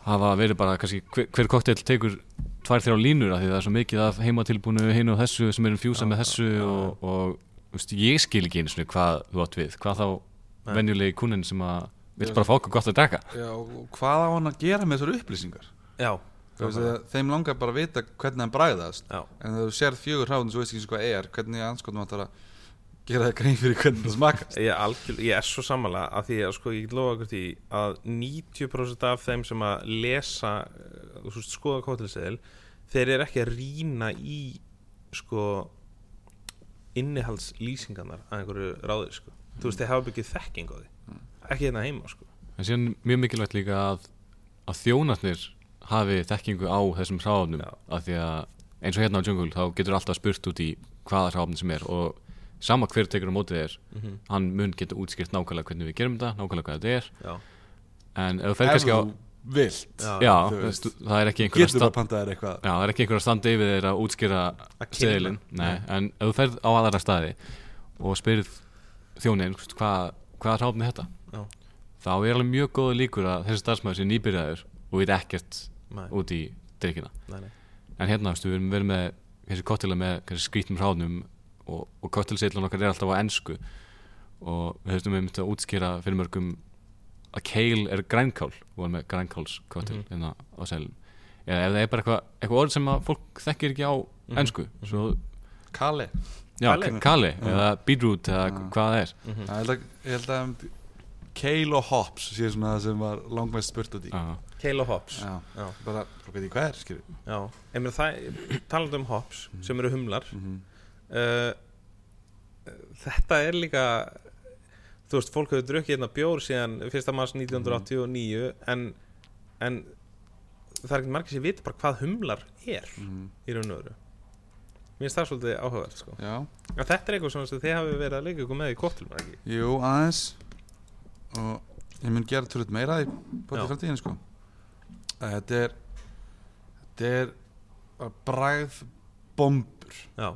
E: hafa verið bara kannski hver, hver koktel tekur tvær þrjá línur af því það er svo mikið af heimatilbúinu hinu og þessu sem er infjúsa
A: Já,
E: með þessu
A: já, já.
E: og, og veist, ég skil ekki einu svona hvað þú átt við hvað þá
A: Nei.
E: venjulegi kunnin sem að vil
B: Já.
E: bara fá okkur gott að drekka
B: já, og hvað á hann að gera með þessar upplýsingar
A: Já,
B: Þú veist, að þeim langar bara að vita hvernig hann bræðast
A: já,
B: en þegar þú sér fjögur hráðin svo veist ekki eins og hvað er hvernig anskotum að gera það grein fyrir hvernig það smakast
A: Ég, algjör, ég er svo sammála að því að sko ég get lofa ykkur því að 90% af þeim sem að lesa eh, þú veist, skoða kóttelseðil þeir eru ekki að rýna í sko innihaldslýsingarnar að einhverju ráði sko. þú veist, þeir hafa byggið þekking á því ekki hérna heima sko.
E: en síðan er mjög mikilvægt líka að, að þjónarnir hafi þekkingu á þessum hráfnum
A: Já.
E: af því að eins og hérna á Jungle þá getur alltaf spurt út í hvaða hráfn sem er og sama hver tekur á mótið þér hann mun geta útskýrt nákvæmlega hvernig við gerum þetta nákvæmlega hvað þetta er
A: já,
E: en ef þú fer kannski á
B: vilt
A: já,
E: já,
B: þú veist.
E: þú- það er ekki einhver að
B: getur
E: sta-
B: bara pantað þér eitthvað
E: Já, það er ekki einhver að standa yfir þeir að útskýra
A: kynna.
E: seðilinn, nei, en ef þú ferð á aðra staði og spyrð þjónin hvist, hvað, hvað er hráfni þetta
A: Já.
E: þá er alveg mjög góða líkur að þessi starfsmæður sé nýbyrjaður og veit ekkert
A: Nei.
E: út í drikkina
A: nei, nei.
E: en hérna, veistu, við erum verið með þessi kottila með þessi skrítum hráfnum og, og kottilseðlan okkar er alltaf á ensku og við höfum við myndið að útskýra fyrir mörgum að keil er grænkál við vorum með grænkálskottil mm
A: Mhm.
E: hérna á seðlum eða ef það er bara eitthvað eitthva orð sem að fólk þekkir ekki á
A: Mhm.
E: ensku svo,
B: kali
E: já,
A: Kali.
E: kali, kali eða beetroot eða
B: Já.
E: hvað það er
A: Mhm.
B: ég held að, ég held að um, kale og hops sé svona það sem var langmest spurt út í
E: Já.
A: Kale og Hobbs
B: já,
A: Já.
B: bara þú veit ég hvað er skilur
A: já. Einmitt, það, talandi um Hobbs sem eru humlar
B: Mhm,
A: uh, Eh, þetta er líka þú veist, fólk hefur drukkið hérna bjór síðan 1. mars 1989 en, en það er ekki margir sem vita bara hvað humlar er
B: mhm.
A: í raun og öru mér finnst það svolítið áhugavert sko.
B: já,
A: að þetta er eitthvað svona sem þið hafi verið að leika ykkur með í kottilum ekki
B: jú, aðeins og ég mun gera tölvöld meira í bóti
G: Já.
B: framtíðinni sko að þetta er þetta er bara bragð bombur
A: já,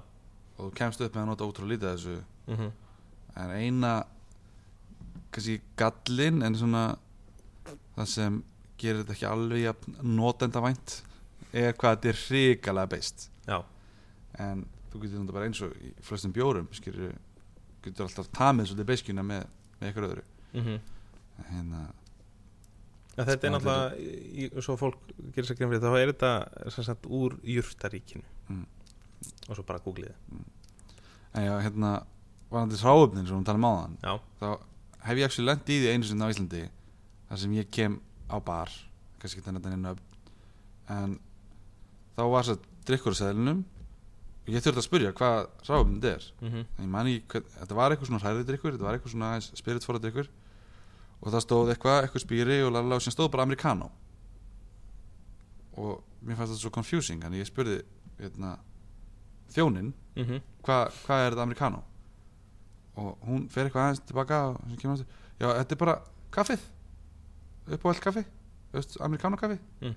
B: og þú kemst upp með að nota ótrúlega lítið af þessu
A: mhm
B: en eina kannski gallin en svona það sem gerir þetta ekki alveg jafn notendavænt er hvað þetta er hrikalega beist
A: Já.
B: en þú getur þetta bara eins og í flestum bjórum skilur, getur alltaf tamið svolítið beiskjuna með, með eitthvað öðru
A: mhm
B: En hérna,
A: Já, þetta er
B: Spennandi.
A: náttúrulega, í- í- svo fólk gerir sér grein fyrir þá er þetta sem sagt úr jurtaríkinu
B: Mm.
A: og svo bara googlið þið.
B: en já, hérna varandi sáöfnin sem hún tala um áðan
A: Já.
B: þá hef ég actually lent í því einu sinni á Íslandi þar sem ég kem á bar kannski ekki þannig að nefna upp en þá var svo drikkur á seðlinum og ég þurfti að spyrja hvað sáöfnin þetta er
A: Mm
B: En ég man ekki, hvern, þetta var eitthvað svona hærri drikkur þetta var eitthvað svona spiritfóra drikkur og það stóð eitthvað, eitthvað spýri og lalala og sem stóð bara americano og mér fannst þetta svo confusing en ég spurði hérna, þjóninn
C: Mhm.
A: -hmm.
B: hvað hva er þetta americano og hún fer eitthvað aðeins tilbaka og sem kemur aftur já, þetta er bara kaffið upp á allt kaffi Öst, americano kaffi
A: Mm.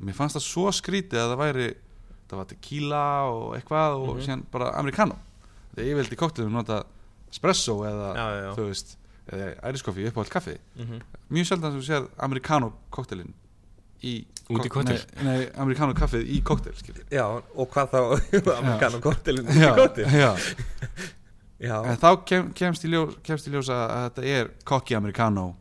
B: og mér fannst það svo skrítið að það væri það var tequila og eitthvað og
A: Mhm.
B: síðan bara americano þegar ég vildi kóktelum nota espresso eða
A: Já, já, já.
B: þú veist eða æriskoffi upp á allt kaffi
A: Mm -hmm.
B: mjög sjaldan sem þú sér americano kóktelin í
C: Út í
B: kok-
C: kokteil.
B: nei, nei, americano kaffið í kóktel skilur
A: Já, og hvað þá amerikanum kortilin
B: Já, já,
A: Já,
B: En þá kem, kemst, í ljós, kemst í ljós að að þetta er kokki americano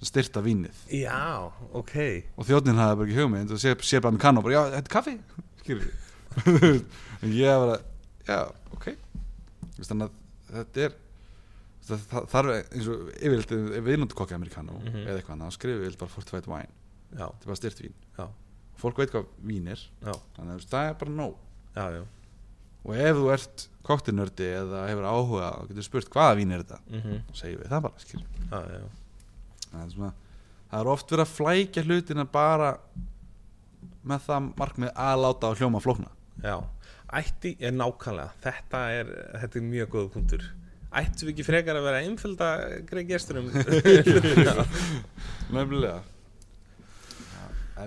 B: sem styrta vínið
A: já, ok
B: og þjóðnin hafði bara ekki hugmynd og sé, sé bara americano og bara, já, þetta er kaffi skilur við og ég var að, já, ok Þú veist, þannig að þetta er það það þarf eins og yfirleitt ef við notum kokki americano
A: Mhm.
B: eða eitthvað annað, þá skrifum við bara fortified wine
A: Já,
B: þetta er bara styrt vín
A: Já.
B: fólk veit hvað vín er
A: Já.
B: þannig að þú veist, það er bara nóg
A: já, já
B: og ef þú ert koktinördi eða hefur áhuga og getur spurt hvaða vín er þetta
A: mm
B: og segjum við það bara, skilur
A: Já, já,
B: það er, svona, það er oft verið að flækja hlutina bara með það markmið að láta á hljóma flókna
A: já Ætti, er nákvæmlega, þetta er þetta er mjög góða punktur Ættu við ekki frekar að vera að einfölda greið gesturum
B: nefnilega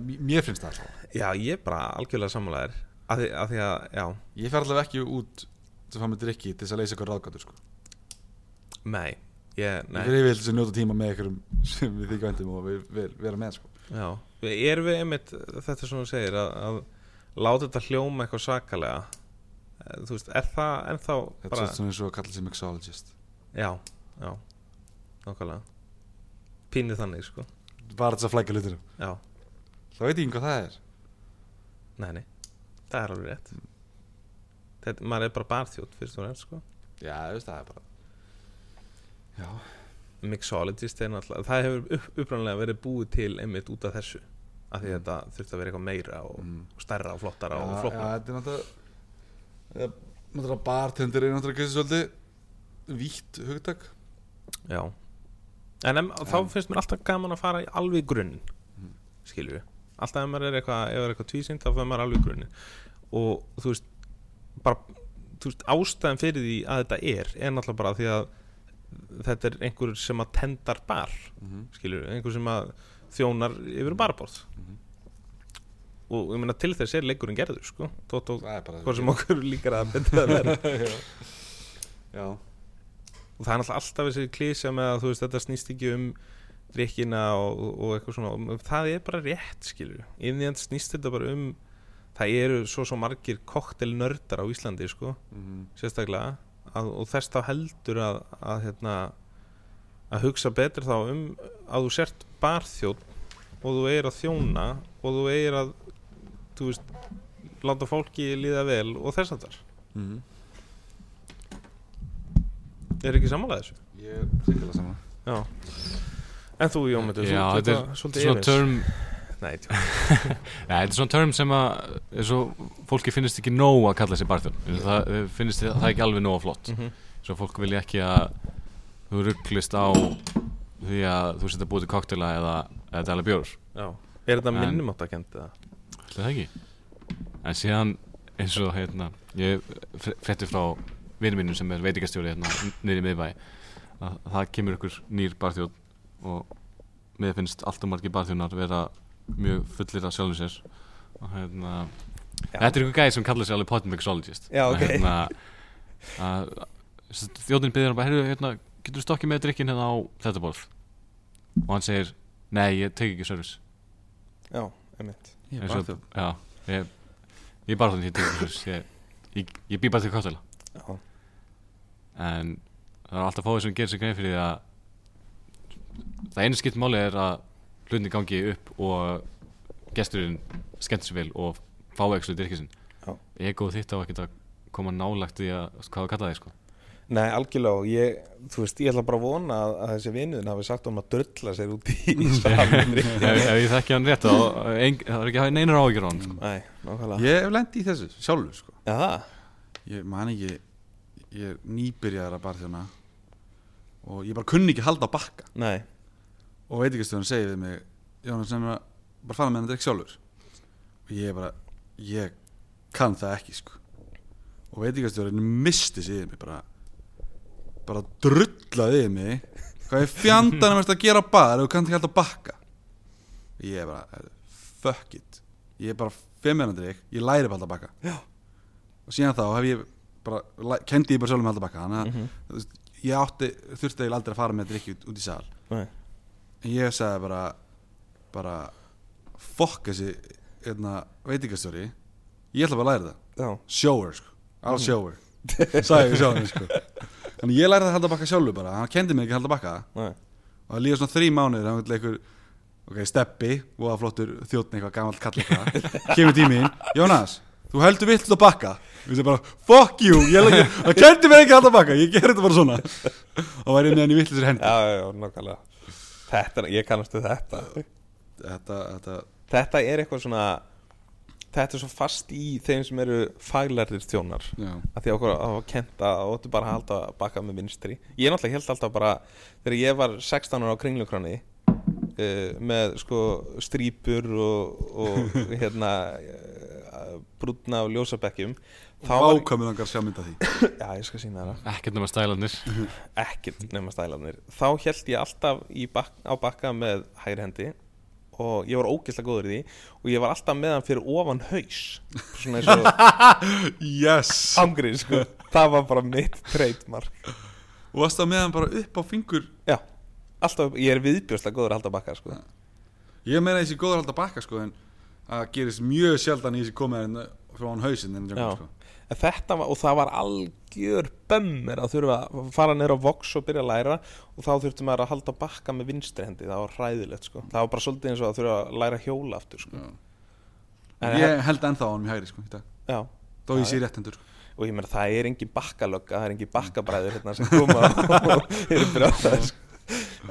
B: mér finnst það alltaf
A: Já, ég er bara algjörlega sammálaðir að því, að því að, já,
B: ég fer allavega ekki út til að fá með drikki til þess að leysa eitthvað ráðgáttur sko.
A: nei Ég,
B: ég
A: nei
B: fer yfirleitt að njóta tíma með einhverjum sem við þykja væntum og við vil vera með sko.
A: Já, erum við einmitt þetta sem þú segir að, að láta þetta hljóma eitthvað svakalega Eh, þú veist, er það ennþá
B: þetta
A: bara,
B: er svona eins og að kalla sig mixologist
A: já, já nákvæmlega pínu þannig, sko
B: bara þess að flækja hlutina
A: já,
B: þá veit ég ekki hvað það er
A: nei, nei, það er alveg rétt þetta, maður er bara barþjótt fyrst og nefn, sko
B: já, þú veist, það er bara já,
A: mixologist er náttúrulega, það hefur upp, upprænlega verið búið til einmitt út af þessu af því að þetta þurfti að vera eitthvað meira og,
B: Mm.
A: og stærra og flottara
B: já,
A: og
B: já,
A: flokkna
B: þetta er náttúrulega eða, náttúrulega bartender er náttúrulega kannski svolítið vítt hugtak
A: Já En em, þá finnst mér alltaf gaman að fara í alveg í grunn Skilur við Alltaf ef maður er eitthvað, ef er eitthvað tvísynd þá fyrir maður alveg í grunn Og þú veist bara, þú veist, ástæðan fyrir því að þetta er er náttúrulega bara því að þetta er einhver sem að tendar bar
B: Mhm.
A: skilur við, einhver sem að þjónar yfir barborð og ég meina til þess er leikurinn gerður sko, tótt og
B: það er bara
A: hvað sem okkur líkar að betra að vera
B: já,
A: og það er náttúrulega alltaf þessi klísja með að þú veist þetta snýst ekki um drikkina og, og eitthvað svona og það er bara rétt skilur innvíðan snýst þetta bara um það eru svo svo margir koktelnördar á Íslandi sko,
B: Mhm.
A: sérstaklega að, og þess þá heldur að, að hérna að hugsa betur þá um að þú sért barþjóð og þú eigir að þjóna og þú eigir að þú veist, láta fólki líða vel og þess að þar
B: Mhm.
A: er ekki sammála þessu?
B: ég er sikkilega saman
A: Já En þú Jómundur,
C: Já,
A: þú ert
C: þetta er
A: svolítið
C: svona
A: yfir.
C: term
A: Nei, tjá,
C: Nei, þetta er svona term sem að eins og fólki finnst ekki nóg að kalla sig barþjón það eh, finnst þið- það er ekki alveg nóg flott
A: Mhm.
C: svo fólk vilja ekki að þú rugglist á því að þú setja búið til koktela eða, eða dæla bjór
A: já Er þetta
C: En-
A: minnum átt að kenda það?
C: Ætli það ekki en síðan eins og hérna ég fr- frétti frá vinnum mínum sem er veitingastjóri hérna niður í miðbæ að það kemur ykkur nýr barþjóð og
E: mér finnst alltaf margir barþjónar vera mjög fullir af sjálfum sér og hérna
A: Já.
E: þetta er einhver gæði sem kallar sig alveg potting mixologist
A: Já, ok.
E: hérna, að, s- þjóðin byrðir hann bara heyrðu, hérna, getur þú stokkið með drikkin hérna á þetta borð og hann segir nei, ég tek ekki service
A: já, einmitt
E: Eins og- já, ég, ég bara þannig, ég tek ekki service ég, ég, ég bý bara til kottela
A: já.
E: en það er alltaf fáið sem gerir sér grein fyrir því að það einu skipt máli er að hlutin gangi upp og gesturinn skemmt sér vel og fá ekki dyrkisinn
A: Já.
E: ego þitt á ekkert að koma nálægt í að hvað að kalla þig sko
A: Nei, algjörlega og ég, þú veist, ég ætla bara að vona að, að þessi vinuðin hafi sagt um að drulla sér út í í salnum
E: ef, ef ég þekki hann rétt þá ein, það er ekki að hafa neinar áhyggjur á hann sko.
A: Nei, nákvæmlega
B: Ég hef lendi í þessu sjálfur sko
A: Já, það,
B: Ég man ekki Ég er nýbyrjaðar að barþjóna Og ég bara kunni ekki halda að bakka
A: nei,
B: Og veit ekki stöðan segir við mig Jónas sem að bara fara með hann að drikk sjálfur Og ég er bara Ég kann það ekki sko Og veit ekki stöðan misti sig yfir mig bara Bara drullaði yfir mig Hvað er fjandanum ertu að gera á bar Ef þú kannt ekki halda að bakka Ég er bara heyrðu, Fuck it Ég er bara fimm meðan að drikk Ég læri bara að halda að bakka og síðan þá hef ég bara, læ- kenndi ég bara sjálf með haldabakka þannig að þú veist, ég átti, þurfti eiginlega aldrei að fara með drikki út, út í sal
A: nei
B: en ég sagði bara bara fokk þessi hérna, veitingastjóri ég ætla bara að læra það,
A: Já,
B: sjóver sko I'll sjóver, sagði ég sjóver sko þannig ég lærði að haldabakka sjálfur bara hann kendi mig ekki að haldabakka
A: nei,
B: og það líða svona þrý mánuðir hann vil einhver ok, steppi, voða flottur þjóttn eitthvað gamall kall eitthvað kemur tíminn, Jónas, þú heldur vilt að bakka og það bara, fuck you ég legg- það kendi mér ekki að bakka, ég ger þetta bara svona og væri með hann í vittlisir hendi
A: já, já, já, nákvæmlega Þetta, er- ég kannast við þetta
B: þetta, þetta,
A: Þetta er eitthvað svona Þetta er svo fast í þeim sem eru faglærir þjónar
B: já
A: að því að okkur að hafa kent að það óttu bara að halda að baka með vinstri ég náttúrulega held alltaf bara þegar ég var 16 ára á kringlukrani uh, með sko strípur og, og hérna uh, brúna og ljósabekkjum þá var
B: ákvæmur hann að sjá mynda því
A: já ég skal sína það
E: ekkert nema stælanir
A: ekkert nema stælanir þá held ég alltaf í bak, á bakka með hægri hendi og ég var ógeðslega góður í því og ég var alltaf með hann fyrir ofan haus svona eins og
B: yes,
A: ámgrið sko það var bara mitt trademark
B: og varst það með hann bara upp á fingur
A: Já, alltaf, ég er viðbjóðslega góður að halda bakka sko.
B: ég meina þessi góður halda bakka sko en að gerist mjög sjaldan í þessi komið hérna frá hann hausinn en
A: Já.
B: jungle, sko.
A: En þetta var, og það var algjör bömmir að þurfa að fara neyra á Vox og byrja að læra og þá þurfti maður að halda bakka með vinstri hendi, það var hræðilegt sko. það var bara svolítið eins og að þurfa að læra að hjóla aftur sko.
B: Já.
A: En
B: ég held ennþá á hann í hægri sko í dag,
A: Já,
B: þó ég sé rétt hendur sko.
A: og ég meina það er engin bakkalögga, það er engin bakkabræður hérna sem koma og eru brjóðað sko.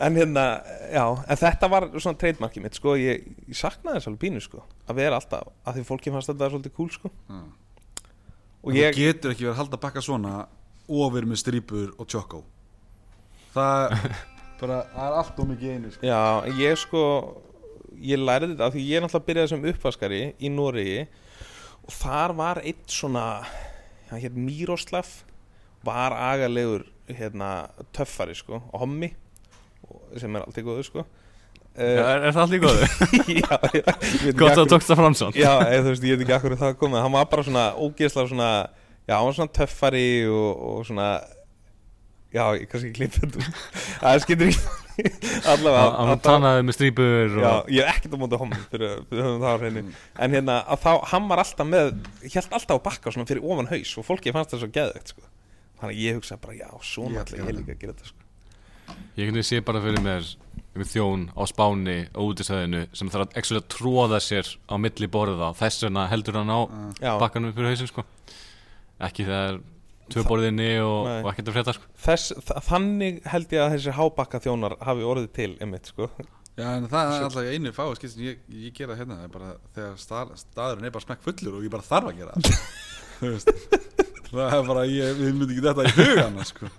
A: En hérna, já, en þetta var svona trademarkið mitt, sko, ég, ég saknaði þess alveg pínu, sko, að vera alltaf, að því fólki fannst þetta svolítið cool, sko,
B: já
A: og ég,
B: Ég... Þú getur ekki verið að halda bakka svona og verið með strýpur og tjókó Það bara, það er allt of mikið í einu sko.
A: Já, ég sko ég lærði þetta af því ég er náttúrulega byrjaði sem uppvaskari í Noregi og þar var eitt svona hann hétt Miroslav var agalegur hérna, töffari sko, hommi og- sem er alltaf góður sko
E: er,
A: Uh,
E: er það allir góðu?
A: já, já, ég veit ekki
E: gott
A: af
E: að tókst það fram svo
A: Já, eða, þú veist, ég veit ekki akkur það komið Hann var bara svona ógeðslega svona Já, hann var svona töffari og, og svona Já, ég kannski klipp þetta út. Það skiptir ekki Allavega
E: hann
A: þetta-
E: tannaði með strýpur
A: Já,
E: og
A: ég er ekkert á móti homi fyrir, fyrir höfum það á hreinu En hérna, að þá, hann var alltaf með Hjælt alltaf á bakka svona fyrir ofan haus Og fólki fannst það svo geðvegt, sko Þannig að ég hugsa bara, já,
B: Ég
A: svona
B: ætla
A: ætla ég líka að gera þetta, sko
E: Ég kunni sé bara fyrir mér einhvern þjón á spáni og útisæðinu sem þarf að ekki að tróða sér á milli borða þess vegna heldur hann á
A: Já,
E: bakkanum fyrir hausinn sko ekki þegar tvö borðinni og,
A: Nei.
E: og ekkert að frétta sko
A: þess, þa- þannig held ég að þessi hábakka þjónar hafi orðið til, einmitt, sko
B: Já, en það er alltaf einu fáið skil sem ég, ég gera hérna Það er bara þegar stað, staðurinn er bara smekk fullur og ég bara þarf að gera það Þú veist, Það er bara, ég, ég myndi ekki þetta í hugan sko.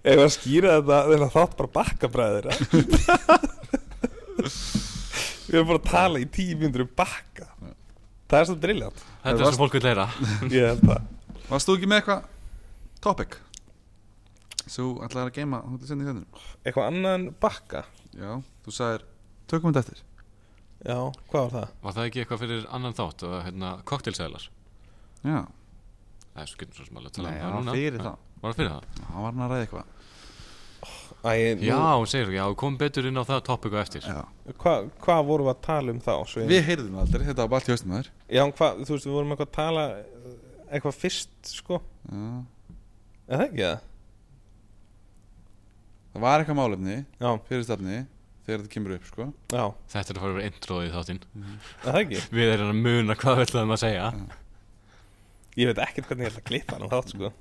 A: Ef að skýra þetta, þetta þátt bara bakkabræðir eh? Við erum bara að tala í tíu mínútur um bakka Það er svo drilljant
E: Þetta er það sem fólk vil leira
A: Ég held það
B: Varst þú ekki með eitthvað topic? Þú ætlaðir að geima, þú ætlaðir að senda í þennum
A: Eitthvað annað en bakka
B: Já, þú sagðir tökum þetta eftir
A: Já, hvað var það?
E: Var það ekki eitthvað fyrir annan þátt og hérna koktelsæðlar?
B: já,
E: Það er svo getur svo sem alveg að tala
B: nei,
E: um
B: hann var
E: núna.
B: fyrir það
E: Var það fyrir það?
B: hann var hann að ræða eitthvað
A: Æ, nú-
E: Já, hún segir já, kom betur inn á það topic og eftir.
B: já.
A: Hva- Hvað vorum við að tala um þá? Svein?
B: við heyrðum það aldrei, þetta var bara allt í höstum þær
A: Já, en hvað, þú veist, við vorum eitthvað að tala uh, eitthvað fyrst, sko Er það ekki það?
B: það var eitthvað málefni,
A: Já,
B: fyrirstafni þegar þetta kemur upp sko
A: já,
E: Þetta er að fara að vera introið í þáttinn.
A: er það ekki?
E: Við erum að muna hvað við ætlaðum að segja.
A: Ég veit ekkert hvernig ég ætla að klippa hann þátt, sko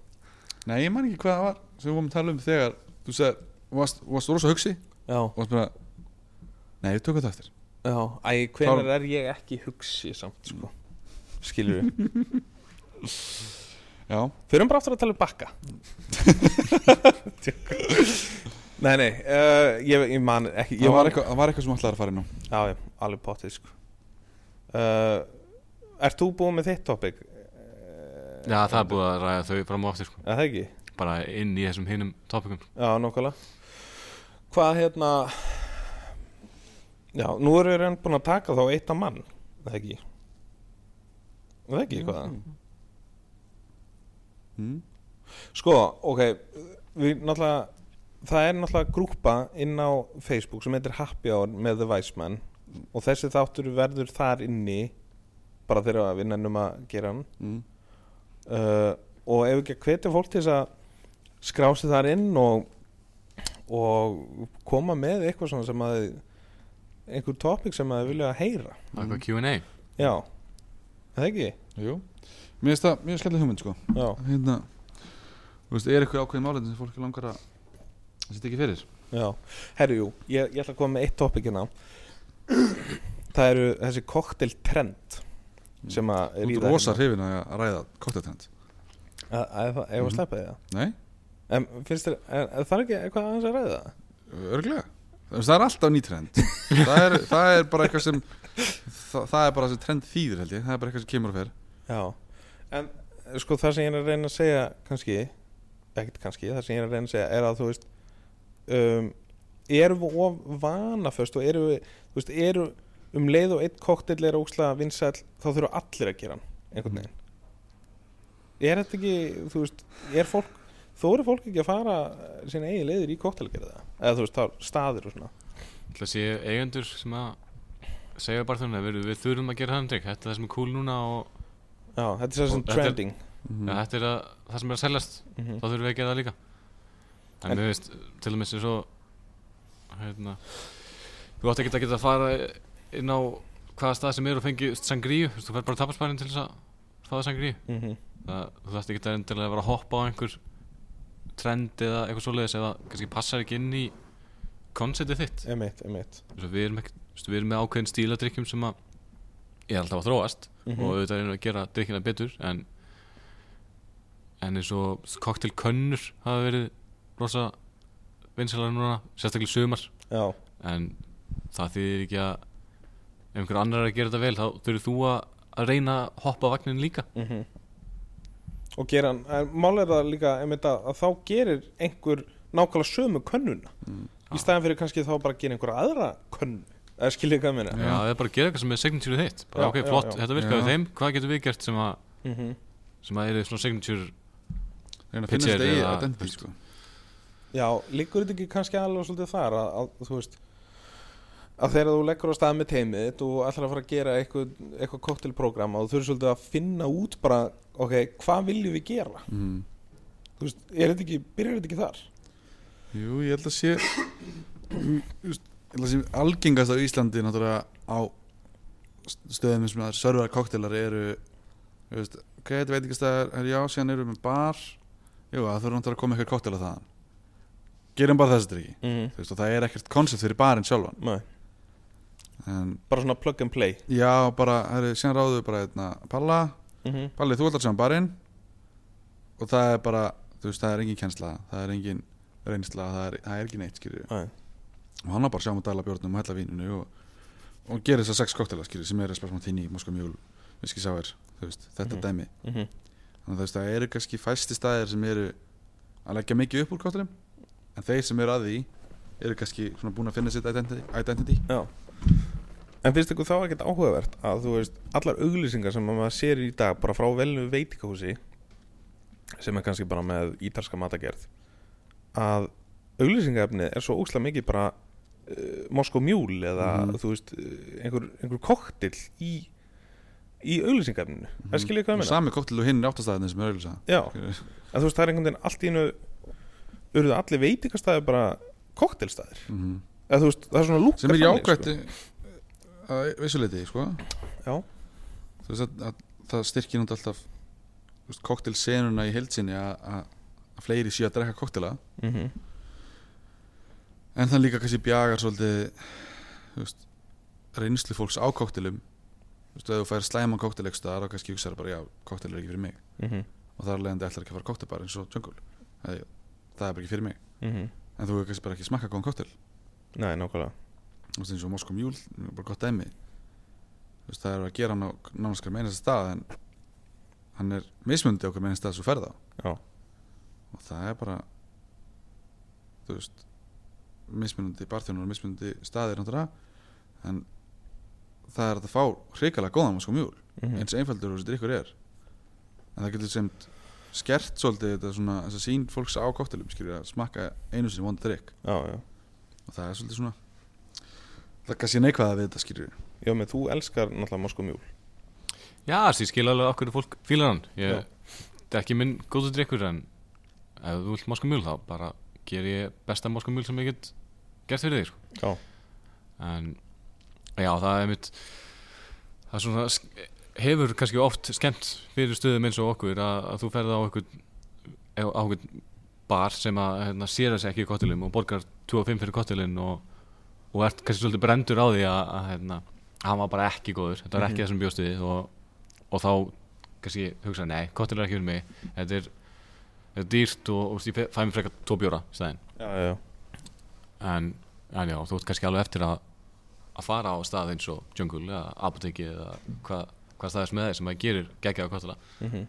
B: nei, ég man ekki hvað það var sem við vorum að tala um þegar þú sagði, varst, varst rosa hugsi
A: Já,
B: og varst bara nei, við tökum þetta eftir
A: já, æ, hvenær er ég ekki hugsi samt, sko Skilur við
B: já,
A: Förum bara aftur að tala um bakka Nei, nei, uh, ég, ég man ekki
B: það
A: ég
B: var, eitthvað, það var eitthvað sem allar að fara inn á
A: Já, já, alveg pottið, sko uh, Ert þú búin með þitt topic?
E: Já, það er búið að ræða þau fram og aftur, sko.
A: Er það ekki?
E: Bara inn í þessum hinum topicum.
A: Já, nokkala Hvað hérna Já, nú erum við enn búin að taka þá eitt að mann er Það ekki Er Það ekki hvað
B: Mm.
A: Sko, ok Við náttúrulega Það er náttúrulega grúpa inn á Facebook sem heitir Happy Hour með The Wise Man og þessi þáttur verður þar inni bara þegar við nennum að gera hann
B: Mm.
A: uh, og ef ekki að hvetja fólk til þess að skrá sig þar inn og, og koma með eitthvað svona sem að einhver topic sem að þið vilja að heyra
E: Það er eitthvað Q&A.
A: já, Er það ekki
B: Jú. mér finnst það mjög skemmtileg hugmynd sko
A: já,
B: hérna, þú veist, er eitthvað ákveðin málefni sem fólk langar að að setja ekki fyrir
A: já, herru jú ég, ég ætla að koma með eitt topic hérna það eru þessi cocktail trend sem að ríða
B: þú er hérna? rosa hrifin að að ræða koktetrend
A: að, að, að, að, að sleppa því það
B: nei,
A: En finnst þér, er, er það ekki eitthvað aðeins að ræða?
B: örglega það er alltaf ný trend það, er, það er bara eitthvað sem það, það er bara sem trend þýðir held ég það er bara eitthvað sem kemur og fer
A: Já, en sko það sem ég er að reyna að segja kannski, ekkert kannski það sem ég er að reyna að segja er að þú veist um, erum við of vanaföst og erum við þú veist, erum um leið og eitt koktel er óksla vinsæll, þá þurfa allir að gera hann einhvern veginn er þetta ekki, þú veist, er fólk þó eru fólk ekki að fara eh, sína eigin leiðir í koktelgerða, eða þú veist, þá staðir og svona,
E: Það sé eigendur sem að segja bara þannig að við, við þurfum að gera hann drikk. Þetta er það sem er cool núna og
A: já, þetta er sér sem
E: Og þetta er-
A: trending
B: Mhm.
E: mm. þetta er að, það sem er að seljast.
A: Mhm.
E: Þá þurfum við að gera það líka. En,
A: En-
E: en mér veist, til og með sem svo, hérna, þú átt ekki að geta að fara inn á hvaða stað sem er og fengi sangríu. Þú fer bara tapasparinn til þess að fá það sangríu.
A: mm
E: það, þú þarft ekki endilega að vera að hoppa á einhver trend eða eitthvað svoleiðis eða kannski passar ekki inn í konceptið þitt
A: emitt, emitt
E: Svo við erum, ekki, þú veist, við erum með ákveðin stíladrykkjum sem að er alltaf að þróast
A: Mhm.
E: og auðvitað erum við að gera drykkina betur en en eins og koktelkönnur hafa verið rosa vinsalega núna, sérstaklega í sumar
A: já,
E: en það þýðir ekki að ef einhver annar er að gera þetta vel þá þurfir þú að, að reyna að hoppa vagnin líka
A: og gera hann, en mál er það líka einmitt að, að þá gerir einhver nákvæmlega sömu könnuna í staðan fyrir kannski þá bara að gera einhverja aðra könnu, eða skiljið hvað minna
E: Já, það er bara að gera eitthvað sem er signature þitt bara,
A: Já,
E: Ok,
A: já,
E: flott,
A: já.
E: þetta virkaði
B: Já.
E: þeim Hvað getum við gert sem að,
A: mm -hmm.
E: sem að er svona signature
B: reyna að
E: Pitcher
B: finna stegi
E: eða-
B: identity sko
A: já, liggur þetta ekki kannski alveg svolítið þar að, að þú veist að þegar þú leggur á stað með teimið þitt og ætlar að fara að gera eitthvað, eitthvað koktelprogram og þú þurfir svolítið að finna út bara, ok, hvað viljum við gera
B: mm.
A: þú veist, er þetta ekki, byrjar þetta ekki þar
B: jú, ég held að sé Mm, þú veist, ég held að sé algengast á Íslandi náttúrulega á stöðum sem að servar koktelar eru þú veist, ok, þetta veit ekki stæðar er já, síðan eru við með bar jú, það þurfa náttúrulega að koma eitthvað koktela þaðan gerum bara þess að drikki
A: mm
B: þú veist, og það er ekkert koncept fyrir barinn sjálfan
A: -hmm.
B: en
A: bara svona plug and play
B: já, bara, herri, síðan ráðu við bara eitna, Palla,
A: mm -hmm.
B: Palli, þú ætlar sem barinn og það er bara þú veist, það er engin kjensla, það er engin reynsla, það er, það er ekki neitt, skilju og hann var bara að sjá um að dæla bjórnum og hella víninu og, og gera þess að sex koktela, skilju, sem er espresso martini, moska mjól, viski sáir þú veist, þetta
A: Mhm.
B: dæmi, þannig að þú veist, það eru kannski fæsti staðir sem eru að leggja mikið upp úr koktelum, en þeir sem eru að því eru kannski svona búin að finna sitt identity, identity
A: já, En finnst ykkur þá ekkert áhugavert að þú veist allar auglýsingar sem að maður sér í dag bara frá velnu veitikahúsi sem er kannski bara með ítalska matagerð að auglýsingaefnið er svo óslega mikið bara uh, Moskó mjúl eða
B: Mhm.
A: þú veist eh, einhver, einhver koktill í í auglýsingaefninu
B: Mhm.
A: mm -hmm. skilja hvað ég meina?
B: Sami koktel og hinn áttastæðin sem er auðvitað
A: Já, en þú veist það er einhvern veginn allt í einu urðu allir veitikastæði bara koktelstæðir eða þú veist það er svona lúka
B: Mhm. sem er
A: þannig,
B: jákvætt
A: sko.
B: að vissuleiti sko.
A: Já.
B: þú veist að, að það styrkir náttúrulega alltaf þú veist, koktel senuna í heilsinni að, að, að fleiri séu að drekka koktela
A: mm
B: en það líka kannski bjagar svolítið þú veist, reynslu fólks á koktelum þú veist, ef þú fær slæman koktel ekki staðar og kannski hugsaður bara já, koktel er ekki fyrir mig
A: Mhm,
B: og þar leðandi ætlar ekki að fara á koktelbar eins og jungle það, það er bara ekki fyrir mig
A: mhm.
B: en þú hefur kannski bara ekki smakka góðan koktel
A: Nei, nákvæmlega
B: þú veist eins og Moskva Mjúl bara gott dæmi þú veist það er að gera hann á nánastkar með einasta stað en hann er mismundi okkur með einasta stað svo ferða
A: Já.
B: og það er bara þú veist mismunandi barþjónur og mismunandi staðir náttúrulega en það er hægt að fá hrikalega góðan Moskva Mjúl
A: mm
B: eins einfaldur og þessi drikkur er en það getur sem skert svolítið þetta svona þess að sín fólks á koktelum skilur að smakka einu sinni vonda drikk
A: Já, já
B: og það er svolítið svona það er kannski neikvæða við þetta skilur
A: Já, menn þú elskar náttúrulega Moskó mjúl
E: Já, þessi ég skil alveg okkur fólk fílar hann ég, Það er ekki minn góðu drikkur en ef þú vilt morsku mjöl þá bara ger ég besta morsku mjöl sem ég get gert fyrir þig sko.
A: Já.
E: En já, það er mitt það er svona sk- hefur kannski oft skemmt fyrir stöðum eins og okkur að, að þú ferð á okkur á okkur bar sem að hérna, sér þessi ekki í kottilum og borgar 25 fyrir kottilinn og, og ert kannski svolítið brendur á því að, að hérna, hann var bara ekki góður þetta var ekki það sem bjóst við og, og þá kannski hugsa nei, kottil er ekki fyrir mig þetta er, þetta er dýrt og, og ég fe- fæ mér frekar tvo bjóra í staðinn
A: Já, já, já
E: en, en já, þú ert kannski alveg eftir að að fara á stað eins og jungle eða apoteki eða hvað hvað staðist með þeir sem að gerir geggja á kottila
A: mm -hmm.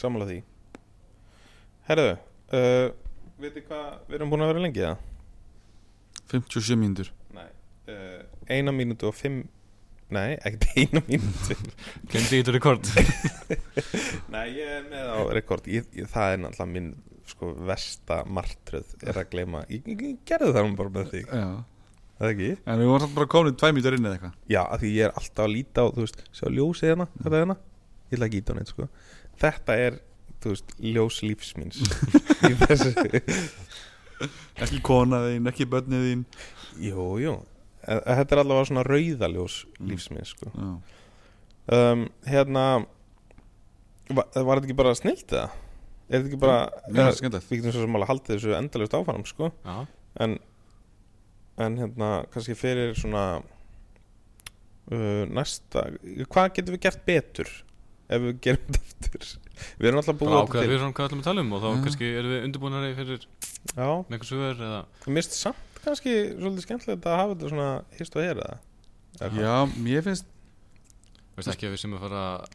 A: Sammála því Herðu, uh, veitir hvað við erum búin að vera lengi það?
B: 57 mínútur
A: Nei uh, Eina mínútu og fimm Nei, ekkert eina mínútu
E: glemdi ég þetta rekord
A: Nei, ég er með á rekord ég, ég, Það er náttúrulega minn sko versta martröð er að gleyma Ég, ég, ég gerði það nú bara með þig
B: já.
A: er Það ekki?
B: en við vorum samt bara komin 2 mínútur inn eða eitthvað
A: Já, af því ég er alltaf að líta á, þú veist, sjá ljósið hérna, þetta hérna Ég ætla ekki ít á neitt, sko Þetta er, þú veist, ljós lífs míns Í þessu
B: ekki kona þín, ekki börnið þín
A: Jú, jú Eh, Þetta er allavega svona rauðaljós lífs míns, sko
B: já.
A: um, Hérna Var, var þetta ekki bara snilt það? Er þetta ekki bara
B: Mér finnst
A: eh,
B: það skemmtilegt.
A: Við getum svo sem alveg haldið þessu endalaust áfram, sko
E: já,
A: en en hérna kannski fyrir svona uh, næsta hvað getum við gert betur ef við gerum þetta aftur við erum alltaf búið
E: bara
A: þetta
E: ákveða við erum hvað ætlum að tala um og þá
B: Já.
E: kannski erum við undirbúinari fyrir
A: já,
E: með einhver svör eða
A: mér finnst samt kannski svolítið skemmtilegt að hafa þetta svona hist og hera
B: já, mér finnst
E: veist ekki að við sem að fara að,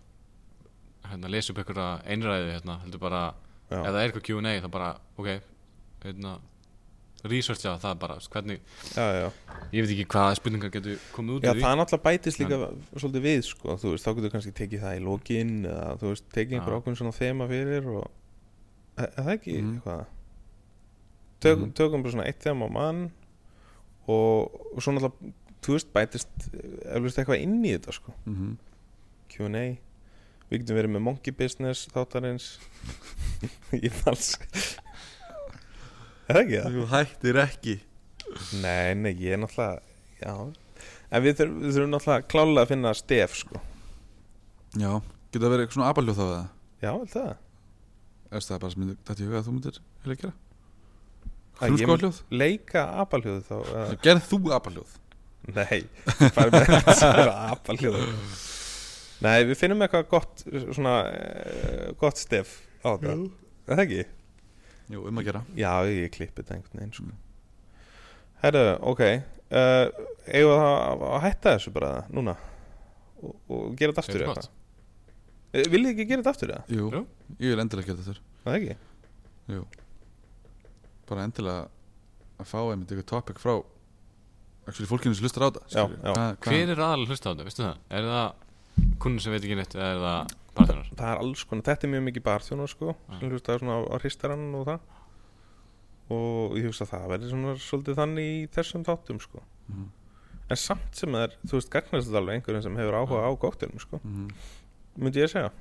E: hérna, lesa upp einhverja einræði hérna, heldur bara,
A: Já.
E: ef það er eitthvað Q&A þá bara, ok hérna, researcha það bara þú veist, hvernig,
A: já, já.
E: ég veit ekki hvaða spurningar getur komið út
A: já,
E: úr
A: það er náttúrulega bætist líka svolítið við sko, þú veist, þá getur við kannski tekið það í lokin eða þú veist, tekið
E: Já.
A: einhver ákveðin svona þema fyrir og er er það ekki
B: Mhm.
A: eitthvað Tök,
B: Mhm.
A: tökum bara svona eitt þema á mann og, og svo náttúrulega þú veist, bætist eflust eitthvað inn í þetta sko,
B: mm
E: Mhm.
A: Q&A við getum verið með monkey business þáttarins ég fals er það ekki það?
B: þú hættir ekki
A: Nei, nei, ég er náttúrulega Já En við þurfum, við þurfum náttúrulega klálega að finna stef sko
B: já, getur það verið eitthvað svona abaljóð þá eða
A: Já, vel það
B: Efst, það er bara sem myndi þetta í huga að þú myndir vilja gera
A: Að ég
B: hrúskóðljóð
A: Leika apaljóðu þá uh,
B: gerð þú abaljóð
A: Nei, farið með það er apaljóðu Nei, við finnum eitthvað gott svona uh, gott stef á þetta Er það ekki?
B: jú, um að gera
A: Já, ég klippi þetta einhvern veginn sko Herru, ok uh, Eigum við að, að hætta þessu bara núna og, og gera þetta aftur
E: Segðu
A: eða
E: gott.
A: hvað? Eh, Viljið þið ekki gera þetta aftur eða?
B: jú,
E: Jú.
B: ég vil endilega gera þetta þurr
A: Er Það ekki?
B: bara endilega að fá einmitt eitthvað topic frá
D: actually fólkinu sem hlustar á það
A: Já,
D: skilurðu.
A: já.
D: Hvað- hvað-
E: Hver er aðalega hlusta á þetta, veistu það? Er það kunnur sem veit ekki neitt eða er það partnerar?
A: það er alls konar, þetta er mjög mikið barþjónar sko, sem hlustaði svona á, á hristarann og það og ég hugsa að það verður svona svolítið þannig í þessum þáttum sko en samt sem það er, þú veist, gagnast þetta alveg einhverjum sem hefur áhuga á góttunum sko myndi ég að segja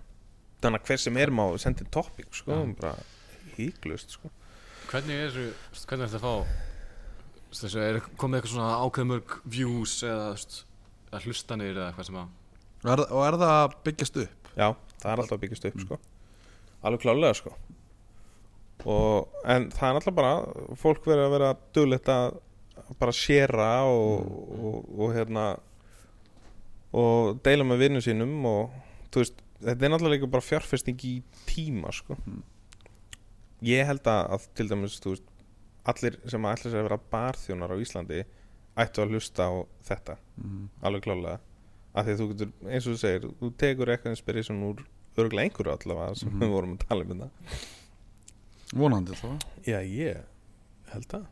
A: þannig að hver sem er má sendi topic sko,
E: Já.
A: ja. bara híklust sko
E: Hvernig er þessu, þú veist, hvernig er þetta að fá þú veist, þessu, er komið eitthvað svona ákveð mörg views eða þú veist, eða hlustanir eða hvað sem að
D: Og er, og er það að byggjast upp
A: Já, það er alltaf að byggjast upp sko. Alveg klálega sko. og, En það er alltaf bara Fólk verið að vera duglegt að Bara séra og, og, og hérna Og deila með vinnum sínum Og þú veist Þetta er náttúrulega líka bara fjárfesting í tíma sko. Ég held að, að Til dæmis þú veist Allir sem ætla sér að vera barþjónar á Íslandi Ættu að hlusta á þetta
B: Mm.
A: Alveg klálega að því að þú getur, eins og þú segir þú tekur eitthvað inspiration úr örgulega einhverju allavega sem við vorum að tala um þetta
D: vonandi þá
A: já ég held að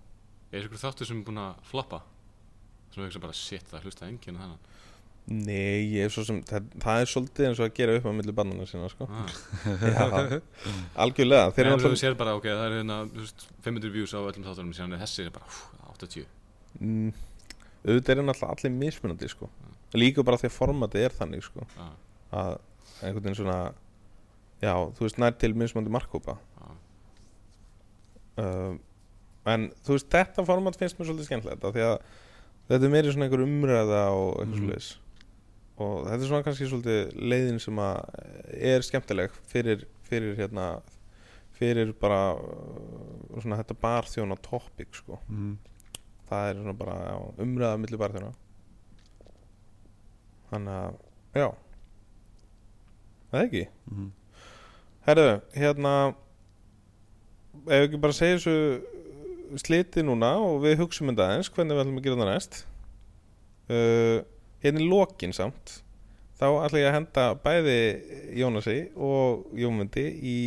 E: er ykkur þáttur sem er búin að floppa sem er ekki bara shit það hlusta enginn á þennan
A: nei, ég er svo sem það, það er svolítið eins og að gera upp á milli bannana sína sko.
E: ah.
A: já, algjörlega þeir
E: þeir
A: eru
E: eru þú
A: alltaf
E: sér bara ok það eru hérna þú veist, 500 views á öllum þáttunum síðan er þessi er bara hú, 80
A: mm, auðvitað eru náttúrulega allir mismunandi sko. líka bara því að formatið er þannig sko,
E: ah.
A: að einhvern veginn svona já, þú veist, nær til mismunandi markkópa
E: Já.
A: um, en þú veist, þetta format finnst mér svolítið skemmtilegt af því að þetta er meiri svona einhver umræða og eitthvað mm. svoleiðis og þetta er svona kannski svolítið leiðin sem að er skemmtileg fyrir, fyrir hérna fyrir bara uh, svona þetta barþjóna topic sko
D: mm.
A: það er svona bara já, umræða millir barðina þannig að já það er ekki
D: Mhm.
A: herðu, hérna ef við ekki bara segja þessu sliti núna og við hugsum um þetta aðeins hvernig við ætlum að gera það næst uh, hérna í lokin samt þá ætla ég að henda bæði Jónasi og Jómundi í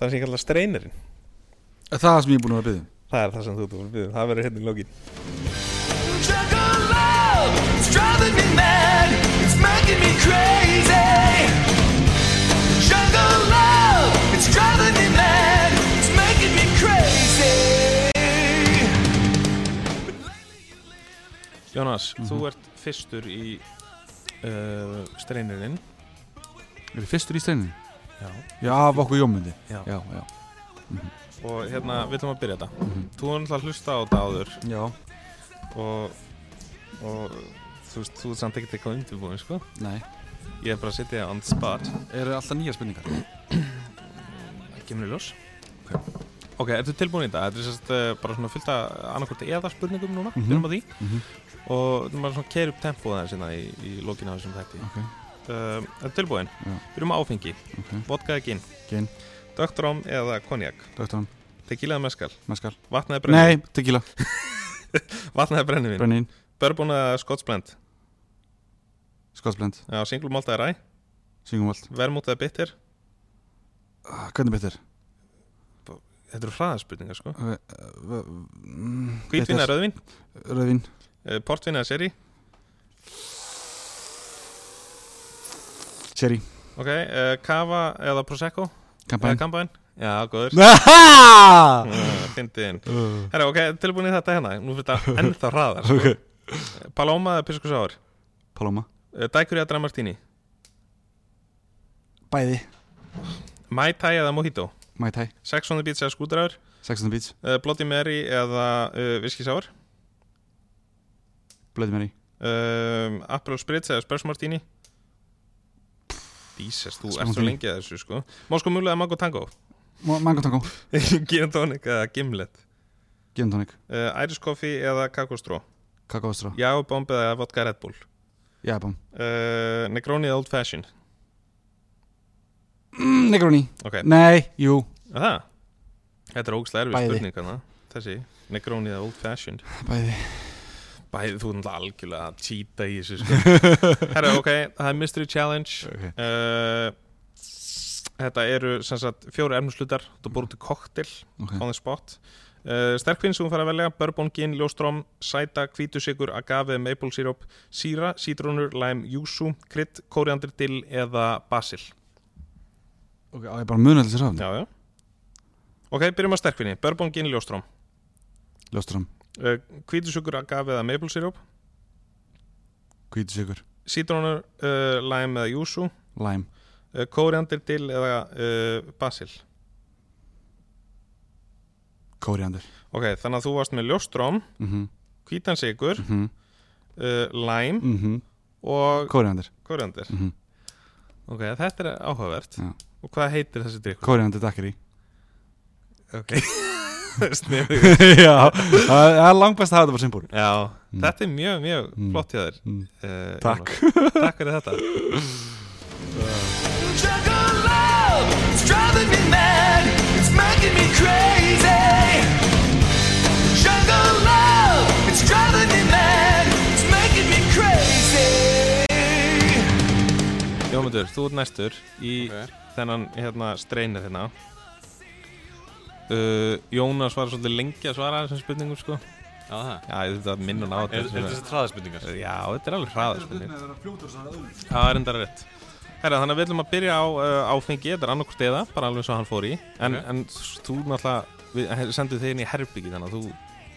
A: það sem ég kalla streinirinn
D: Er það sem ég er búin að um? byggja
A: það er það sem þú þú fyrir það verður hérna í lokin
H: Juggle love, it's driving me mad, it's making me crazy. Juggle love, it's driving me mad, it's making me crazy.
A: Jónas, þú ert fyrstur í uh, streinirinn
D: er þið fyrstur í steinin
A: Já.
D: já af okkur jómundi
A: Já.
D: já, já.
A: og hérna, við ætlum að byrja þetta
D: Mhm.
A: Þú er náttúrulega að hlusta á þetta áður
D: já.
A: og, og þú veist, þú er samt ekkert eitthvað undirbúin, sko
D: nei
A: Ég er bara að setja þig on the spot
D: eru alltaf nýja spurningar
A: Kemur í ljós Ok, ertu tilbúin í þetta? Þetta er sérst uh, bara svona fyllt að annarkvort eða spurningum núna,
D: Mhm.
A: við erum að því
D: Mhm.
A: og þú maður svona keir upp tempóð aðeins hérna í, í lokinu á þessum þætti
D: ok
A: um, Ertu tilbúin?
D: Já.
A: Byrjum á áfengi,
D: Ok.
A: vodka eða gin
D: Gin.
A: Dögtrám eða konjak,
D: dögtan
A: tequila eða meskal
D: meskal
A: Vatnaði brennivín
D: nei tequila
A: Vatnaði brennivín
D: brennin
A: Bourbon eða skottsblend
D: skotsblend
A: Já, single malt eða ræ
D: syngum allt
A: Vermút eða bitter
D: Ah, hvernig betur
A: Þetta eru hraðarspurningar sko
D: eh, mm,
A: Hvítvín
D: hvítvinn
A: eða rauðvín
D: röðvin
A: Eh, Portvín eða seri
D: sherry
A: Ok, eh, Kava eða Prosecco Eða
D: kampanj
A: Kambain Já, góður
D: Ah!
A: Fyndin Herra, ok, tilbúin í þetta hérna Nú fyrir þetta ennþá hraðar sko.
D: Ok.
A: Paloma eða Pisco Sour
D: Paloma
A: Eh, Dækur eða Dramartini
D: bæði
A: Mai Tai eða Mojito
D: Mai Tai
A: Sex on the Beach eða Skúdraður
D: Sex on the Beach
A: Bloody Mary eða uh, Whisky Sour
D: Bloody Mary
A: um, Aperol Spritz eða Spurs Martini Dísast, þú ert svo
D: Martini.
A: lengi að þessu sko Moskó Mule eða Mango Tango
D: Ma- Mango Tango
A: Gin and Tonic eða Gimlet
D: Gin and Tonic
A: uh, Iris Coffee eða Kakostró
D: Kakaostrá
A: Já, Bomb eða Vodka Red Bull
D: Jæbam
A: uh, Negroni eða Old Fashion
D: mm, Negroni
A: Ok,
D: Nei, jú
A: að það Þetta er ógstlega erfið
D: Bæði.
A: spurning hana Þessi, Negroni eða Old Fashion
D: Bæði
A: Bæði, þú er náttúrulega algjörlega að cheata í þessu sko Herra, ok, það er Mystery Challenge
D: Ok.
A: uh, Þetta eru sem sagt fjóri ermslutar Þú búið til koktel
B: Mm.
D: Ok.
A: on the spot Uh, sterkvinn sem hún fara að velja bourbon, gin, ljóstróm, sæta, hvítusikur, agave, maple syrup, síra, sítrónur, lime, júsú, krydd, kóriandir, dill eða basil
B: Ok, á ég bara muna allir sér hafni
A: Já, já Ok, byrjum á sterkvinni, bourbon, gin, ljóstróm
B: Ljóstur hann,
A: uh, hvítusikur, agave eða maple syrup
B: hvítu sigur,
A: sítrónur, uh, lime eða júsú uh,
B: lime
A: kóriandir, dill eða uh, basil
B: kóriandir
A: Ok, þannig að þú varst með ljóstróm
B: mm -hmm.
A: hvítan sigur,
B: Mhm.
A: uh, lime
B: mm -hmm.
A: og
B: Kóriandir,
A: kóriandir
B: Mhm.
A: Ok, þetta er áhugavert
B: Já.
A: Og hvað heitir þessi drikkur?
B: kóriandir dakkeri
A: Ok Sniðugur
B: Já, það það er langbæst að hafa þetta bara simbúr
A: Já, þetta er mjög, mjög flott hjá þér
B: Mm.
A: Eh,
B: Takk.
A: Jónas. Takk fyrir þetta
H: Drug of love, it's driving me mad, it's making me crazy. Drug of love, it's driving me mad, it's making me crazy.
A: Jómundur, þú ert næstur í þennan hérna, streynir hérna uh, Jónas var svolítið lengi að svara þessum spurningum sko
E: Já, það.
A: Já, ég þurfti að minna hann á
E: Er, er
A: þetta
E: þetta þessi traðaspurningar?
A: Já, þetta er alveg hraða spurning Já, það er enda rétt Herra, þannig að við ætlum að byrja á uh, áfengi, þetta er annarkvort eða, bara alveg svo hann fór í En,
E: Ok.
A: en þú náttúrulega, við sendum þig inn í herbyggi þannig að þú,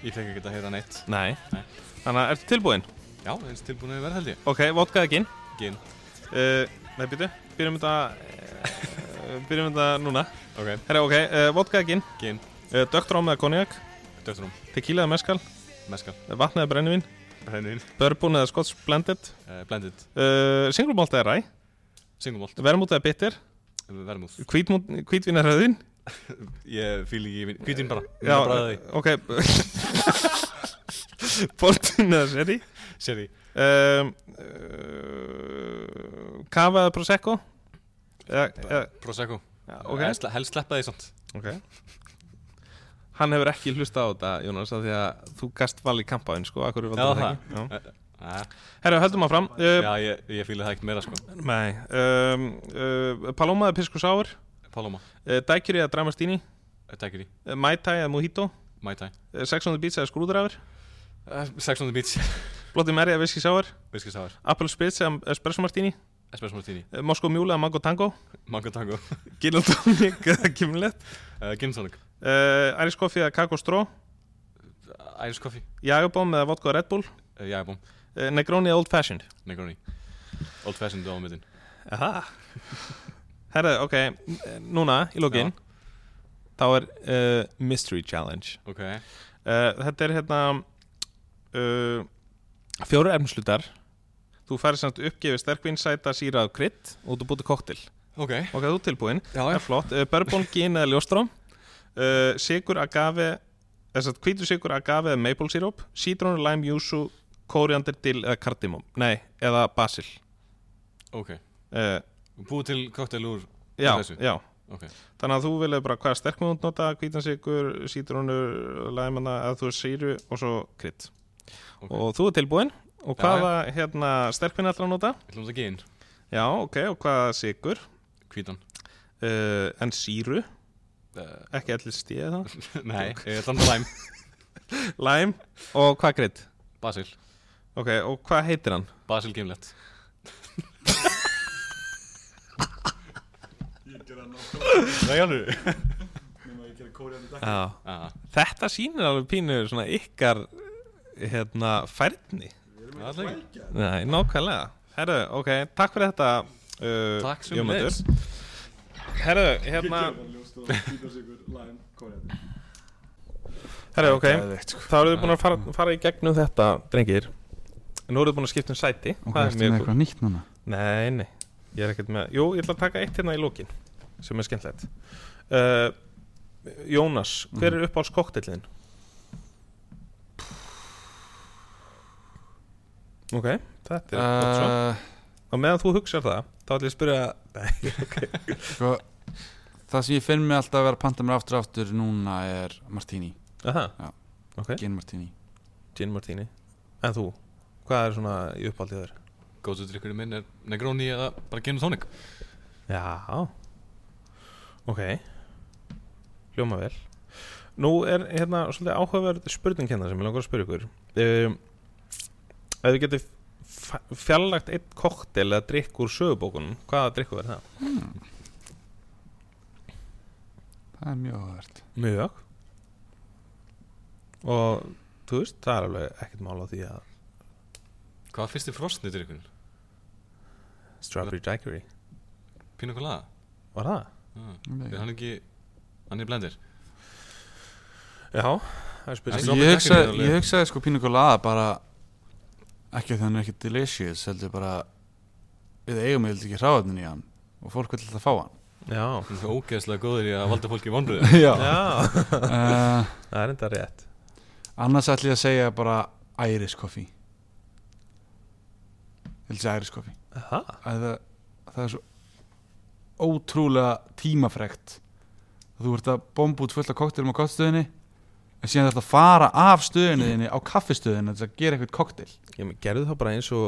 E: Ég fengi ekki að heyra neitt.
A: nei,
E: Nei.
A: Þannig að ertu tilbúinn?
E: Já, það er tilbúin að vera held ég.
A: Ok, vodkaði ginn
E: Gin.
A: uh, Nei, byrju, byrjum þetta uh, Byrjum þetta núna
E: Ok.
A: Herra, ok, uh, vodka eða gin
E: Gin.
A: uh, Dögtrám eða konjak
E: Döfturum.
A: Tequila eða meskal
E: Meskal.
A: Vatn eða brennivín
E: Brennin.
A: Bourbon eða scotch blended
E: Uh, blended.
A: uh, Single malt eða ræ
E: Singumalt.
A: Vermút eða bitter
E: Vermúð.
A: Hvítmút- Hvítvín eða rauðin
E: Ég fíl ekki... Hvítin bara.
A: Já,
E: Bara því.
A: ok Portun eða seri
E: Seri.
A: um, uh, Kava eða prosecco eða, eða,
E: Prosecco. Eh,
A: ok.
E: Helst, helst sleppa því samt.
A: Ok Hann hefur ekki hlusta á þetta, Jónas af því að þú gast val í kampaðin, sko Akkur er
E: Já,
A: það
E: það.
A: ekki Já.
E: Uh,
A: Herra, höldum áfram
E: já,
A: uh,
E: ég, ég fíla það ekkert meira sko.
A: Nei um, uh, Paloma eða Pisco Sour
E: Paloma.
A: uh, Dækjur eða Dramastini uh,
E: Dagiri.
A: Mai Tai eða Mojito uh,
E: Mai Tai.
A: 600 Beats eða Skrúðrafur
E: Uh, 600 beats.
A: Blotti Mary eða Whisky Sour
E: Whisky sour.
A: Apple Spritz eða Espresso Martini
E: Espresso martini.
A: uh, Moskó Mjúla eða Mango Tango
E: Mango tango.
A: Gin and Tonic eða Gimlet
E: Uh, gin tonic.
A: uh, Iris Coffee eða Kakó Stró
E: Irish coffee.
A: Jagabom eða Vodka Red Bull
E: Uh, Jægabom.
A: uh, Negroni eða Old Fashioned
E: Negroni. Old fashioned á middin.
A: Aha. Herra, ok, núna í lokin þá er uh, Mystery Challenge
E: Ok.
A: uh, Þetta er hérna uh, fjóru efnslutar Þú færi samt uppgefið sterkvinn, sæta, síra og krydd og þú búti koktil
E: Ok.
A: Ok, þú ert tilbúinn,
E: Já,
A: það
E: já.
A: er flott uh, Bourbon, gin eða ljóstrám uh, Sigur, agave eh, þess að hvítu sigur, agave eða maple syrup Sítrónu, lime, júsu, kóriandir, dill eða kardimum Nei, eða basil
E: Ok.
A: uh,
E: Búið til koktel úr
A: Já,
E: þessu?
A: já
E: Ok.
A: Þannig að þú vilja bara hvaða sterkum þú nota, hvítansikur, sítrónur, læmana, að þú sýru og svo krydd.
E: Ok.
A: Og þú er tilbúinn og
E: Já,
A: hvaða hérna sterkvinn ætlar að nota?
E: Ætlum þetta gin.
A: Já, ok, og hvaða sikur,
E: Hvítan.
A: uh, en síru,
E: Uh,
A: ekki allir stíði það,
E: nei. Ég ætlum þetta lime.
A: læm og hvað krydd?
E: Basil.
A: Ok, og hvað heitir hann?
E: Basil gimlet. Ég gerði hann á.
A: Já.
E: Já.
A: Þetta sýnir alveg pínu svona ykkar hérna færni.
E: Það er ekki.
A: Nei, nákvæmlega. Herru, ok, takk fyrir þetta, uh,
E: Takk sem
A: Jómundur.
E: leys.
A: Herru, hérna... Herru, ok, þá eruð þið búin að fara, fara í gegnum þetta, drengir. Nú eruð þið búin að skipta um sæti.
B: Ok,
A: Það er mjög
B: ertu með
A: cool.
B: eitthvað nýtt núna
A: Nei, nei, ég er ekkert með Jú, ég ætla að taka eitt hérna í lókin sem er skemmtilegt uh, Jónas, hver
B: Mhm.
A: er uppáhalds kokteilin? Ok, þetta er gott svo
B: uh,
A: Og meðan þú hugsar það, þá ætlum ég að spyrja
B: sko, Það sem ég finn mig alltaf að vera að panta mér aftur og aftur núna er Martini,
A: Aha,
B: Já.
A: ok,
B: Gin Martini
A: gin martini En þú, hvað er svona í uppáhaldið þér?
E: Góðu drikkurinn minn er Negroni eða bara gin og tonic.
A: Já Ok Ljóma vel Nú er hérna svolítið áhugaverð spurning hérna sem ég langar að spyrja ykkur um, Ef þið getur fjarlagt einn koktel eða drikk úr sögubókunum hvaða drikku verður það?
B: það er mjög áhverð
A: Mjög Og þú veist, það er alveg ekkert mál á því að
C: Hvað var fyrsti frosni drikkurinn?
A: Strawberry Daiquiri
C: Pina colada?
A: Var það?
C: Ah. Er hann ekki, hann er blendir?
A: Já, það er spurning
C: Strawberry
B: ég hugsaði,
C: daiquiri
B: ég hugsaði sko pínu kolada bara ekki að það er ekki delicious heldur bara við eigum heldur ekki hráðnin í hann og fólk vil alltaf fá hann
A: Já,
C: Hann er svo ógeðslega góður í að valda fólki vonbröðu
B: já
A: já,
B: uh,
A: það er enda rétt
B: annars ætlum ég að segja bara Irish coffee ég vil segja Irish coffee
A: Það,
B: að það, það er svo ótrúlega tímafrekt þú ert að bomba út fullt af koktelum á koktstöðinni en síðan þarf að fara af stöðinni þinni á kaffistöðinni til að gera eitthvað koktel
A: ég meina, gerðu það bara eins og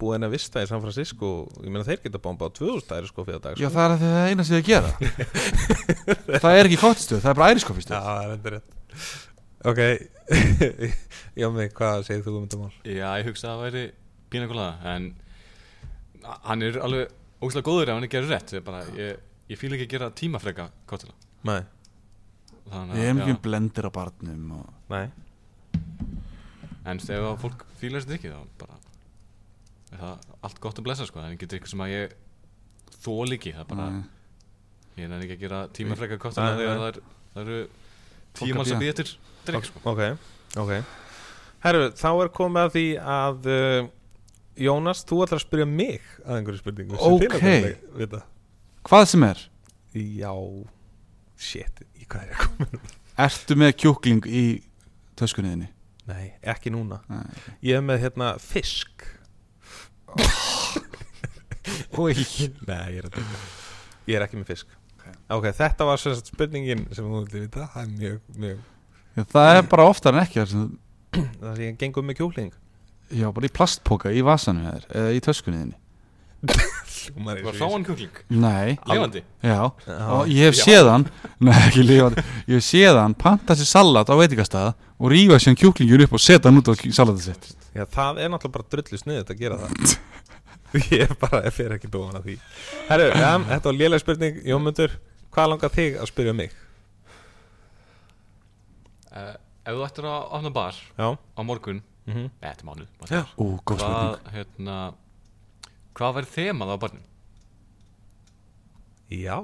A: búin að vista í San Francisco ég meina þeir geta bombað á 2000 stæri sko fyrir dag sko.
B: Já, það er að því það er eina sem þið gera Það er ekki kottistöð, það er bara æriskoffistöð
A: það er enda rétt Ok, Jómi, hvað segir þú um þetta mál?
C: Já, ég hugsaði að það væri pina colada En a- hann er alveg ógeðslega góður ef hann er gerður rétt Ég, bara, ég, ég fíl ekki að gera tímafreka kottila
A: Nei,
B: Ég hef mjög blendir á barnum og...
A: nei
C: En ef að fólk fílar þessi drikki þá bara er það allt gott að blessa sko, það er ekki drikkur sem að ég þól ekki, það er bara
B: Nei.
C: ég er ekki að gera tímafreka kostina
A: Nei,
C: þegar
A: nei.
C: það, er, það eru
B: Fólk að
C: tíu manns að
B: bíða.
C: býða eftir drikk sko.
A: Ok, ok Herru, þá er komið að því að uh, Jónas, þú ætlar að spyrja mig að einhverju spurningu sem þið
B: Ok.
A: langar að le- vita.
B: Hvað sem er,
A: Já, shit, í hvað er ég að koma?
B: ertu með kjúkling í töskunniðinni?
A: Nei, ekki núna
B: Nei.
A: Ég er með hérna fisk
B: Oi.
A: Nei, ég er að teka Ég er ekki með fisk Ok, þetta var sem sagt spurningin sem þú vildi vita Það er mjög, mjög
B: Já, það er bara oftar en ekki þar sem...
A: Það sé ég gengum með kjúling
B: Já, bara í plastpoka í vasanum hér, eða í töskunniðinni
A: Hljómar
C: Var ráan kjúkling?
B: Nei,
C: Lefandi?
B: já,
A: Já,
B: og ég hef séð hann Nei, ekki lífandi Ég hef séð hann, panta sér salat á veitingastað og rífa sér kjúklingur upp og setja hann út á salatið sitt
A: Já, það er náttúrulega bara drullu sniðið að gera það Ég er bara, ég fer ekki dóan að því Herru, ja, þetta var lélega spurning Jómundur, hvað langar þig að spyrja um mig?
C: Uh, ef þú ættir að opna bar
A: Já,
C: á morgun,
A: mm -hmm.
C: eða þetta er mánuð bara
A: Já.
C: þar.
B: Ú, Mhm. góð spurning
C: Hvað, hérna Hvað verður þemað á barnum?
A: já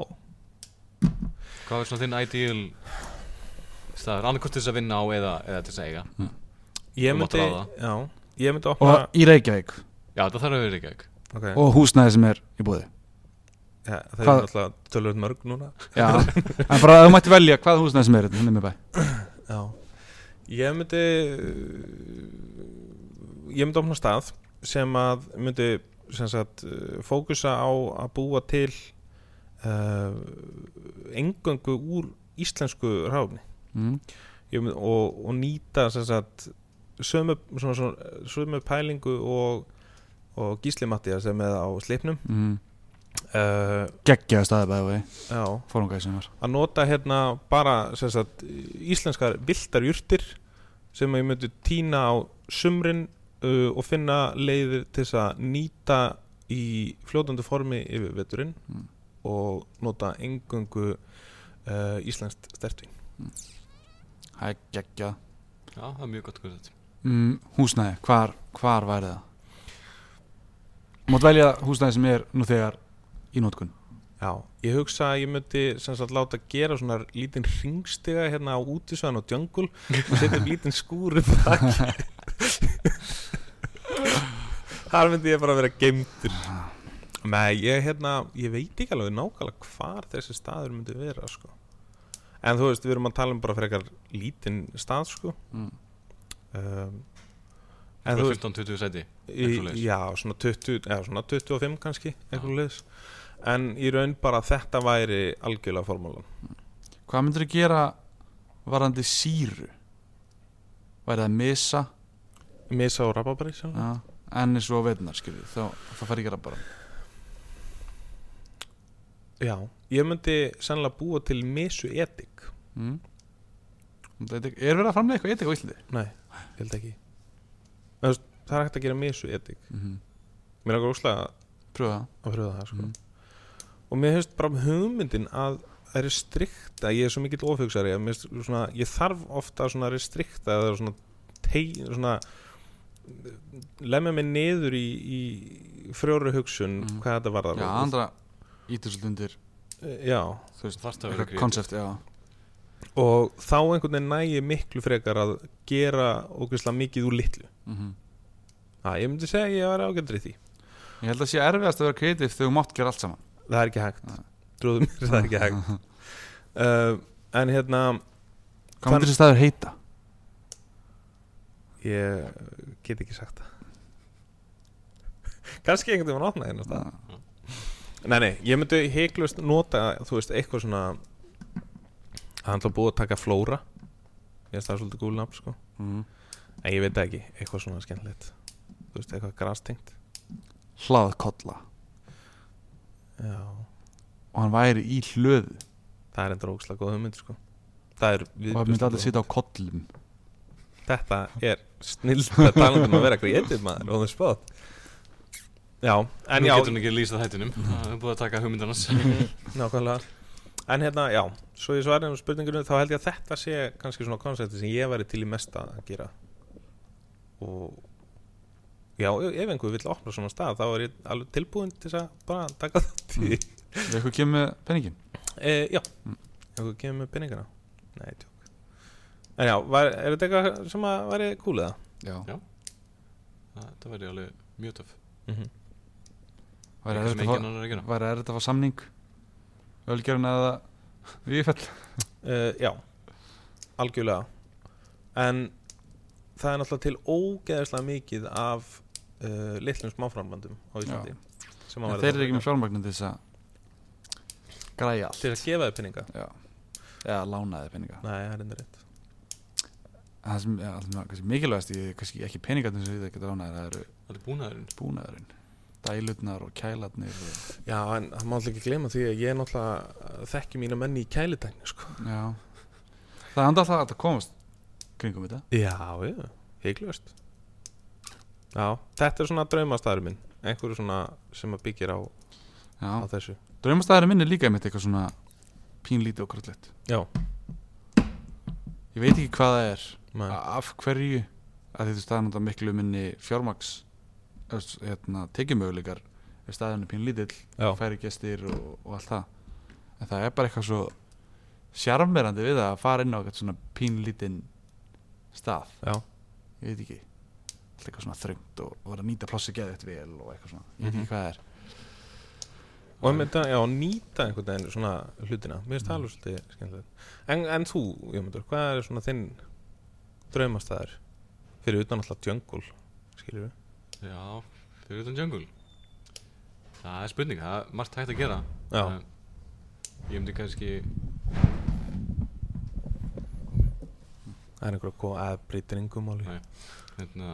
C: Hvað verður svona þinn ideal staður, annarkort til þess að vinna á eða, eða til þess að eiga?
A: Ég
C: Þú mátt
A: myndi,
C: ráða.
A: já, ég myndi opna
B: Og í Reykjavík
C: Já, það þarf að vera ekki ekki
A: okay.
B: og húsnæði sem er í búði
A: ja, Það er
B: hvað-
A: náttúrulega tölvöld mörg núna
B: Já, en bara að þú mætti velja hvaða húsnæði sem er hérna með bæ
A: Já Ég myndi Ég myndi opna stað sem að myndi sem sagt, eh, fókusa á að búa til uh, engöngu úr íslensku ráfni
B: mm.
A: Ég myndi, og, og nýta sem sagt, sömu, svona, svona, sömu pælingu og, og Gísli Mattia sem er á sleipnum
B: mm.
A: uh,
B: Geggjaði staði bæði vei,
A: Já
B: fórungaði sem var
A: að nota hérna bara sem sagt, íslenskar viltar jurtir sem ég myndi týna á sumrin uh, og finna leiðir til þess að nýta í fljótandi formi yfir veturinn
B: Mm.
A: og nota engungu uh, íslenskt stertvin
B: Hæ, geggjað
C: Já, það er mjög gott að þetta
B: mm, Húsnæði, hvar, hvar væri það? Mátt velja húsnæði sem er nú þegar í nótkun
A: Já, ég hugsa að ég myndi sem sagt láta gera svona lítinn ringstiga hérna á útisvæðan og djöngul og setja upp lítinn skúr upp á þakki Þar myndi ég bara vera geimtur Nei, ég hérna ég veit ekki alveg nákvæmlega hvar þessi staður myndi vera sko En þú veist, við erum að tala um bara frekar lítinn stað sko
B: Mm.
A: um, En þú
C: Bara
A: veist
C: 15-20 sæti
A: Í,
C: Eitthvað leiðis.
A: já, svona 20, eða svona 25 kannski, eitthvað leis en í raun bara þetta væri algjörlega formúlan
B: Hvað myndir þú gera varandi síru? Væri það misa
A: Misa og rababari sjálf
B: ja. enni svo veitnar skilju þá, þá fær ég að bara
A: Já, ég myndi sennilega búa til misu edik
B: mm. Þetta Er er verið að framlega eitthvað edik á Íslandi?
A: Nei, ég held ekki En þú veist, Það er hægt að gera misu edik
B: Mm -hmm.
A: Mér er óslega
B: Pröfa það
A: að pröfa það sko. Og mér hefst bara hugmyndin að að restrikta, ég er svo mikill ofugsari að mér finnst svona, ég þarf ofta svona restrikta eða svona, tei, svona lemja mig niður í, í frjóru hugsun
B: Mhm.
A: hvað þetta varðar
B: Já,
A: Og-
B: andra ítur svolítið undir
A: já,
B: Þú veist,
E: Þarft að vera
B: eitthvað
E: kreatív.
B: konsept, já
A: og þá einhvern veginn nægi miklu frekar að gera ógeðslega mikið úr litlu
B: Mhm.
A: það, ég myndi segja að ég var ágældri því
B: Ég held að sé erfiðast að vera kreatív þegar þú mátt gera allt saman
A: það er ekki hægt trúðu mér, það er ekki hægt uh, en hérna
B: Hvað myndir þessi staður heita?
A: ég get ekki sagt það kannski einhvern veginn opna hérna stað nei, nei, ég myndi heiklust nota þú veist, eitthvað svona það er alltaf búið að taka flóra ég veist það er svolítið gúl nafn sko
B: Mhm.
A: en ég veit það ekki, eitthvað svona skemmtilegt þú veist, eitthvað grastengt
B: Hlaðkolla
A: já,
B: Og hann væri í hlöðu
A: það er endur ógslag góð hugmynd sko það er
B: Og hann myndi allir sitja á kollum
A: þetta er snill að tala um að vera kreatív maður on the spot já, en
E: Nú
A: já,
E: getur hann ekki lýsa þættinum Það er búið að taka hugmyndan hans
A: nákvæmlega en hérna, já, svo ég svarið um spurningunum þá held ég að þetta sé kannski svona konsepti sem ég væri til í mesta að gera og já, ef einhver vill opna svona stað þá er ég alveg tilbúin til þess að bara taka þátt í
B: Við eitthvað kemur með penningin
A: e, já, ef einhver kemur með peningana nei, tjók en já, var, er þetta eitthvað sem að væri cool eða?
B: Já
E: Það væri alveg mjög töff
A: Mm -hmm.
B: Væri
E: Eitthvað
B: erfitt
E: sem
B: að fá-
E: enginn annar er að gera
B: væri erfitt að fá samning Ölgerinn eða Vífell
A: Uh, já, algjörlega En það er náttúrulega til ógeðislega mikið af uh, litlum smáframlandum á Íslandi sem að
B: En
A: verða
B: þeir eru
A: þarna.
B: ekki með fjármagnin til þess að Græja allt
A: Til að gefa þér peninga
B: Já Eða lánaði peninga
A: Nei, það er enda rétt
B: Það sem er alltaf kannski mikilvægast í kannski ekki peningarnir sem við getum lánaði það eru
E: Það er búnaðurinn
B: búnaðurinn Dælutnar og kælarnir og,
A: Já, en það má alltaf ekki gleyma því að ég náttúrulega uh, þekki mína menni í kælitækni sko.
B: Já Það er enda alltaf hægt að komast kringum þetta
A: Já, já, heiklust Já, þetta er svona draumastæður minn einhverju svona sem að byggir á, á
B: Já
A: þessu
B: Draumastæðurinn minn er líka einmitt eitthvað svona pínlítið og kröllett
A: Já,
B: Ég veit ekki hvað það er
A: maður
B: A- af hverju að þetta staðan þetta miklu minni fjármaks öss, hérna, tekjumöguleikar ef staðan er pín lítill
A: Já.
B: færi gestir og, og allt það en það er bara eitthvað svo sjarmerandi við það að fara inn á eitthvað svona pín lítinn stað
A: Já,
B: ég veit ekki allt eitthvað svona þröngt og, og vera að nýta plássi geðvægt vel og eitthvað svona, ég
A: Mhm.
B: veit ekki hvað það er
A: og einmitt að já, nýta einhvern veginn svona hlutina mér finnst það alveg svolítið skemmtilegt en, en þú, Jómundur, hvað er svona þinn draumastæður fyrir utan alltaf djöngul skilur við
E: Já, fyrir utan jungle Það er spurning, það er margt hægt að gera
A: Já.
E: En Ég myndi kannski
A: það er einhver að koma að breytir engum máli
E: Nei. hérna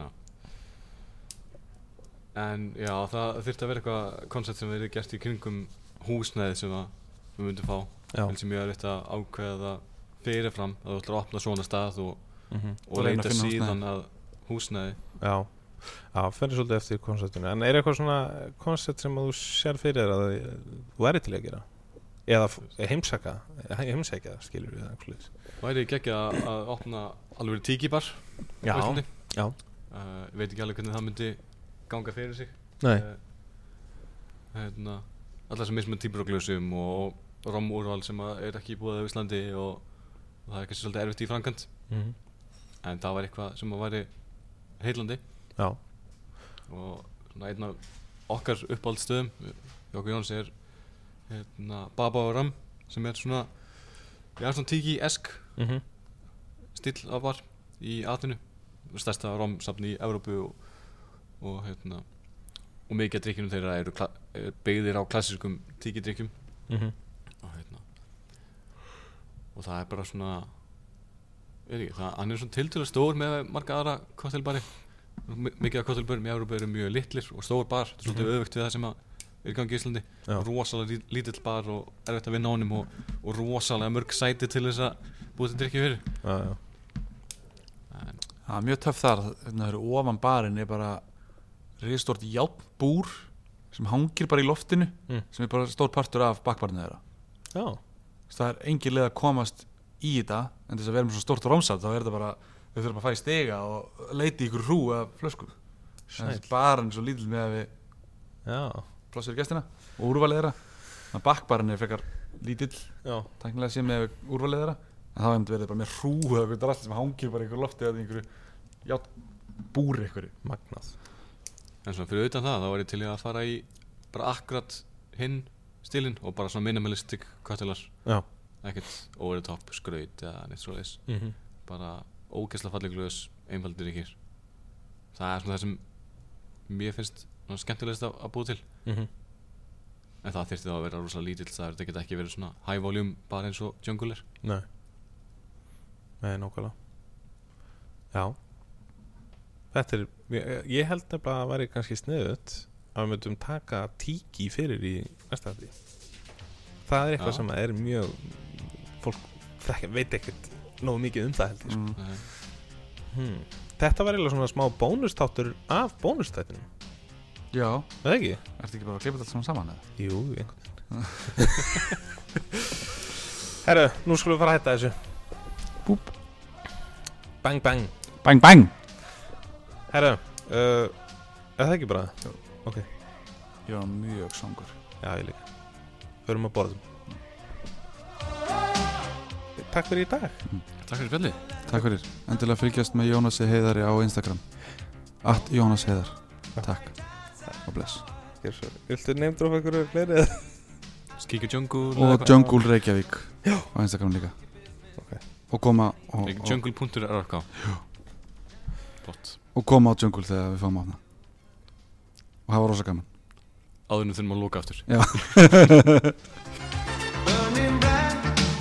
E: En já, það þyrfti að vera eitthvað koncept sem verið gert í kringum húsnæði sem að við myndum fá
A: já,
E: Helst sem ég er rétt að ákveða það fyrirfram að þú ætlar að opna svona stað og,
A: mhm,
E: og,
B: Og reyna að
E: leita
B: finna
E: síðan að húsnæði
A: já já, fyrir svolítið eftir konceptinu en er eitthvað svona koncept sem að þú sér fyrir þér að þú er til að gera eða f- heimsaka heimsækja, skilur við það
E: Væri ekki ekki að, að opna alveg tíkibar
A: já, já.
E: Uh, Ég veit ekki alveg hvernig það myndi ganga fyrir sig
A: nei,
E: Eh, hérna, allar sem mismun típur og glösum og romúrval sem að er ekki búið á Íslandi og, og það er kannski svolítið erfitt í framkant
A: mhm,
E: en það var eitthvað sem að væri heillandi
A: já,
E: og svona einn af okkar uppáldstöðum hjá okkur Jóns er hérna, Baba og Ram sem er svona já, svona tiki esk
A: mhm,
E: stíll af var í atinu stærsta romsafni í Evrópu og, og hérna og mikið af drikkjunum þeirra eru kla- eh, byggðir á klassiskum tíkidrykkjum
A: mhm
E: og hérna og það er bara svona er ekki, það, hann er svona tiltölu stór með marga aðra kottelbari mikið af kottelbörum í Európa eru mjög litlir og stór bar, þetta er svolítið öfugt við það sem að er í gangi í Íslandi,
A: Já.
E: rosalega lí- lítill bar og erfitt að vinna honum og, og rosalega mörg sæti til þess að búið til drikkið fyrir
A: já, já,
B: það er mjög töff þar þannig að ofan barinn er bara risstort játbúr sem hangir bara í loftinu
A: Mm.
B: sem er bara stór partur af bakbarnið þeirra
A: Já,
B: Þess, það er engin leið að komast í þetta en þess að vera með svo stórt rámsat þá er þetta bara, þau þurfum að fæ stiga og leita í ykkur hrú af flöskum þannig að barinn er svo lítill með að við
A: já,
B: plássir gestina og úrvalið þeirra þannig að bakbarinn er frekar lítill
A: já
B: tæknilega sé með úrvalið þeirra en það hefði verið bara með hrú eða eitthvað drast sem hangir bara í einhverju lofti eða í einhverju ját búri einhverju
A: Magnað
E: En svona fyrir utan það, þá var ég til í að fara í bara akkurat hinn stílinn og bara svona minimalistic kattilar
A: Já.
E: Ekkert over the top skraut eða neitt svo leiðis
A: mm -hmm.
E: Bara ógeðslega falleg glöðs, einfaldir ekki Það er svona það sem mér finnst svona skemmtilegst að, að búa til En það þyrfti þá að vera rosalega lítill Það þetta geta ekki verið svona high volume bara eins og jungle er
A: Nei Nei, nákvæmlega Já Þetta er, ég- ég held nefnilega að það væri kannski sniðut að við möttum taka tíki fyrir í næsta hætti Það er eitthvað
E: Já.
A: sem er mjög fólk frekja, veit ekkert nógu mikið um það held ég sko.
B: mm.
E: Nei.
A: hmm. Þetta var eiginlega svona smá bónustáttur af bónustættinum,
B: já,
A: er það ekki?
B: ertu ekki bara að klippa þetta allt saman saman eða?
A: Jú, einhvern veginn Herru, nú skulum við fara að hætta þessu
B: Búp.
A: Bang, bang
B: bang bang
A: Herru, uh, er það ekki bara?
B: ég var mjög sangur
A: Já, ég líka Förum að borðum Takk fyrir í dag
E: Takk fyrir spjallið
B: takk fyrir, endilega fylgjast með Jónasi Heiðari á Instagram at Jónas Heiðar takk og bless
A: Viltu neymdrófa einhverju fleiri eða?
E: Skíkja jungle eða
B: og
E: eitthvað.
B: Jungle Reykjavík á Instagram líka
A: Ok.
B: og koma og,
E: Nei,
B: og,
E: Jungle.rk Bott
B: og koma á Jungle þegar við fáum á hana og hafa rosa gaman
E: Áður en við þurfum að lóka aftur
H: burning bright.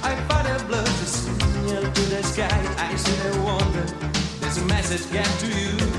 H: I fight a blood to see up to the sky. I said, I wonder, there's a message got to you.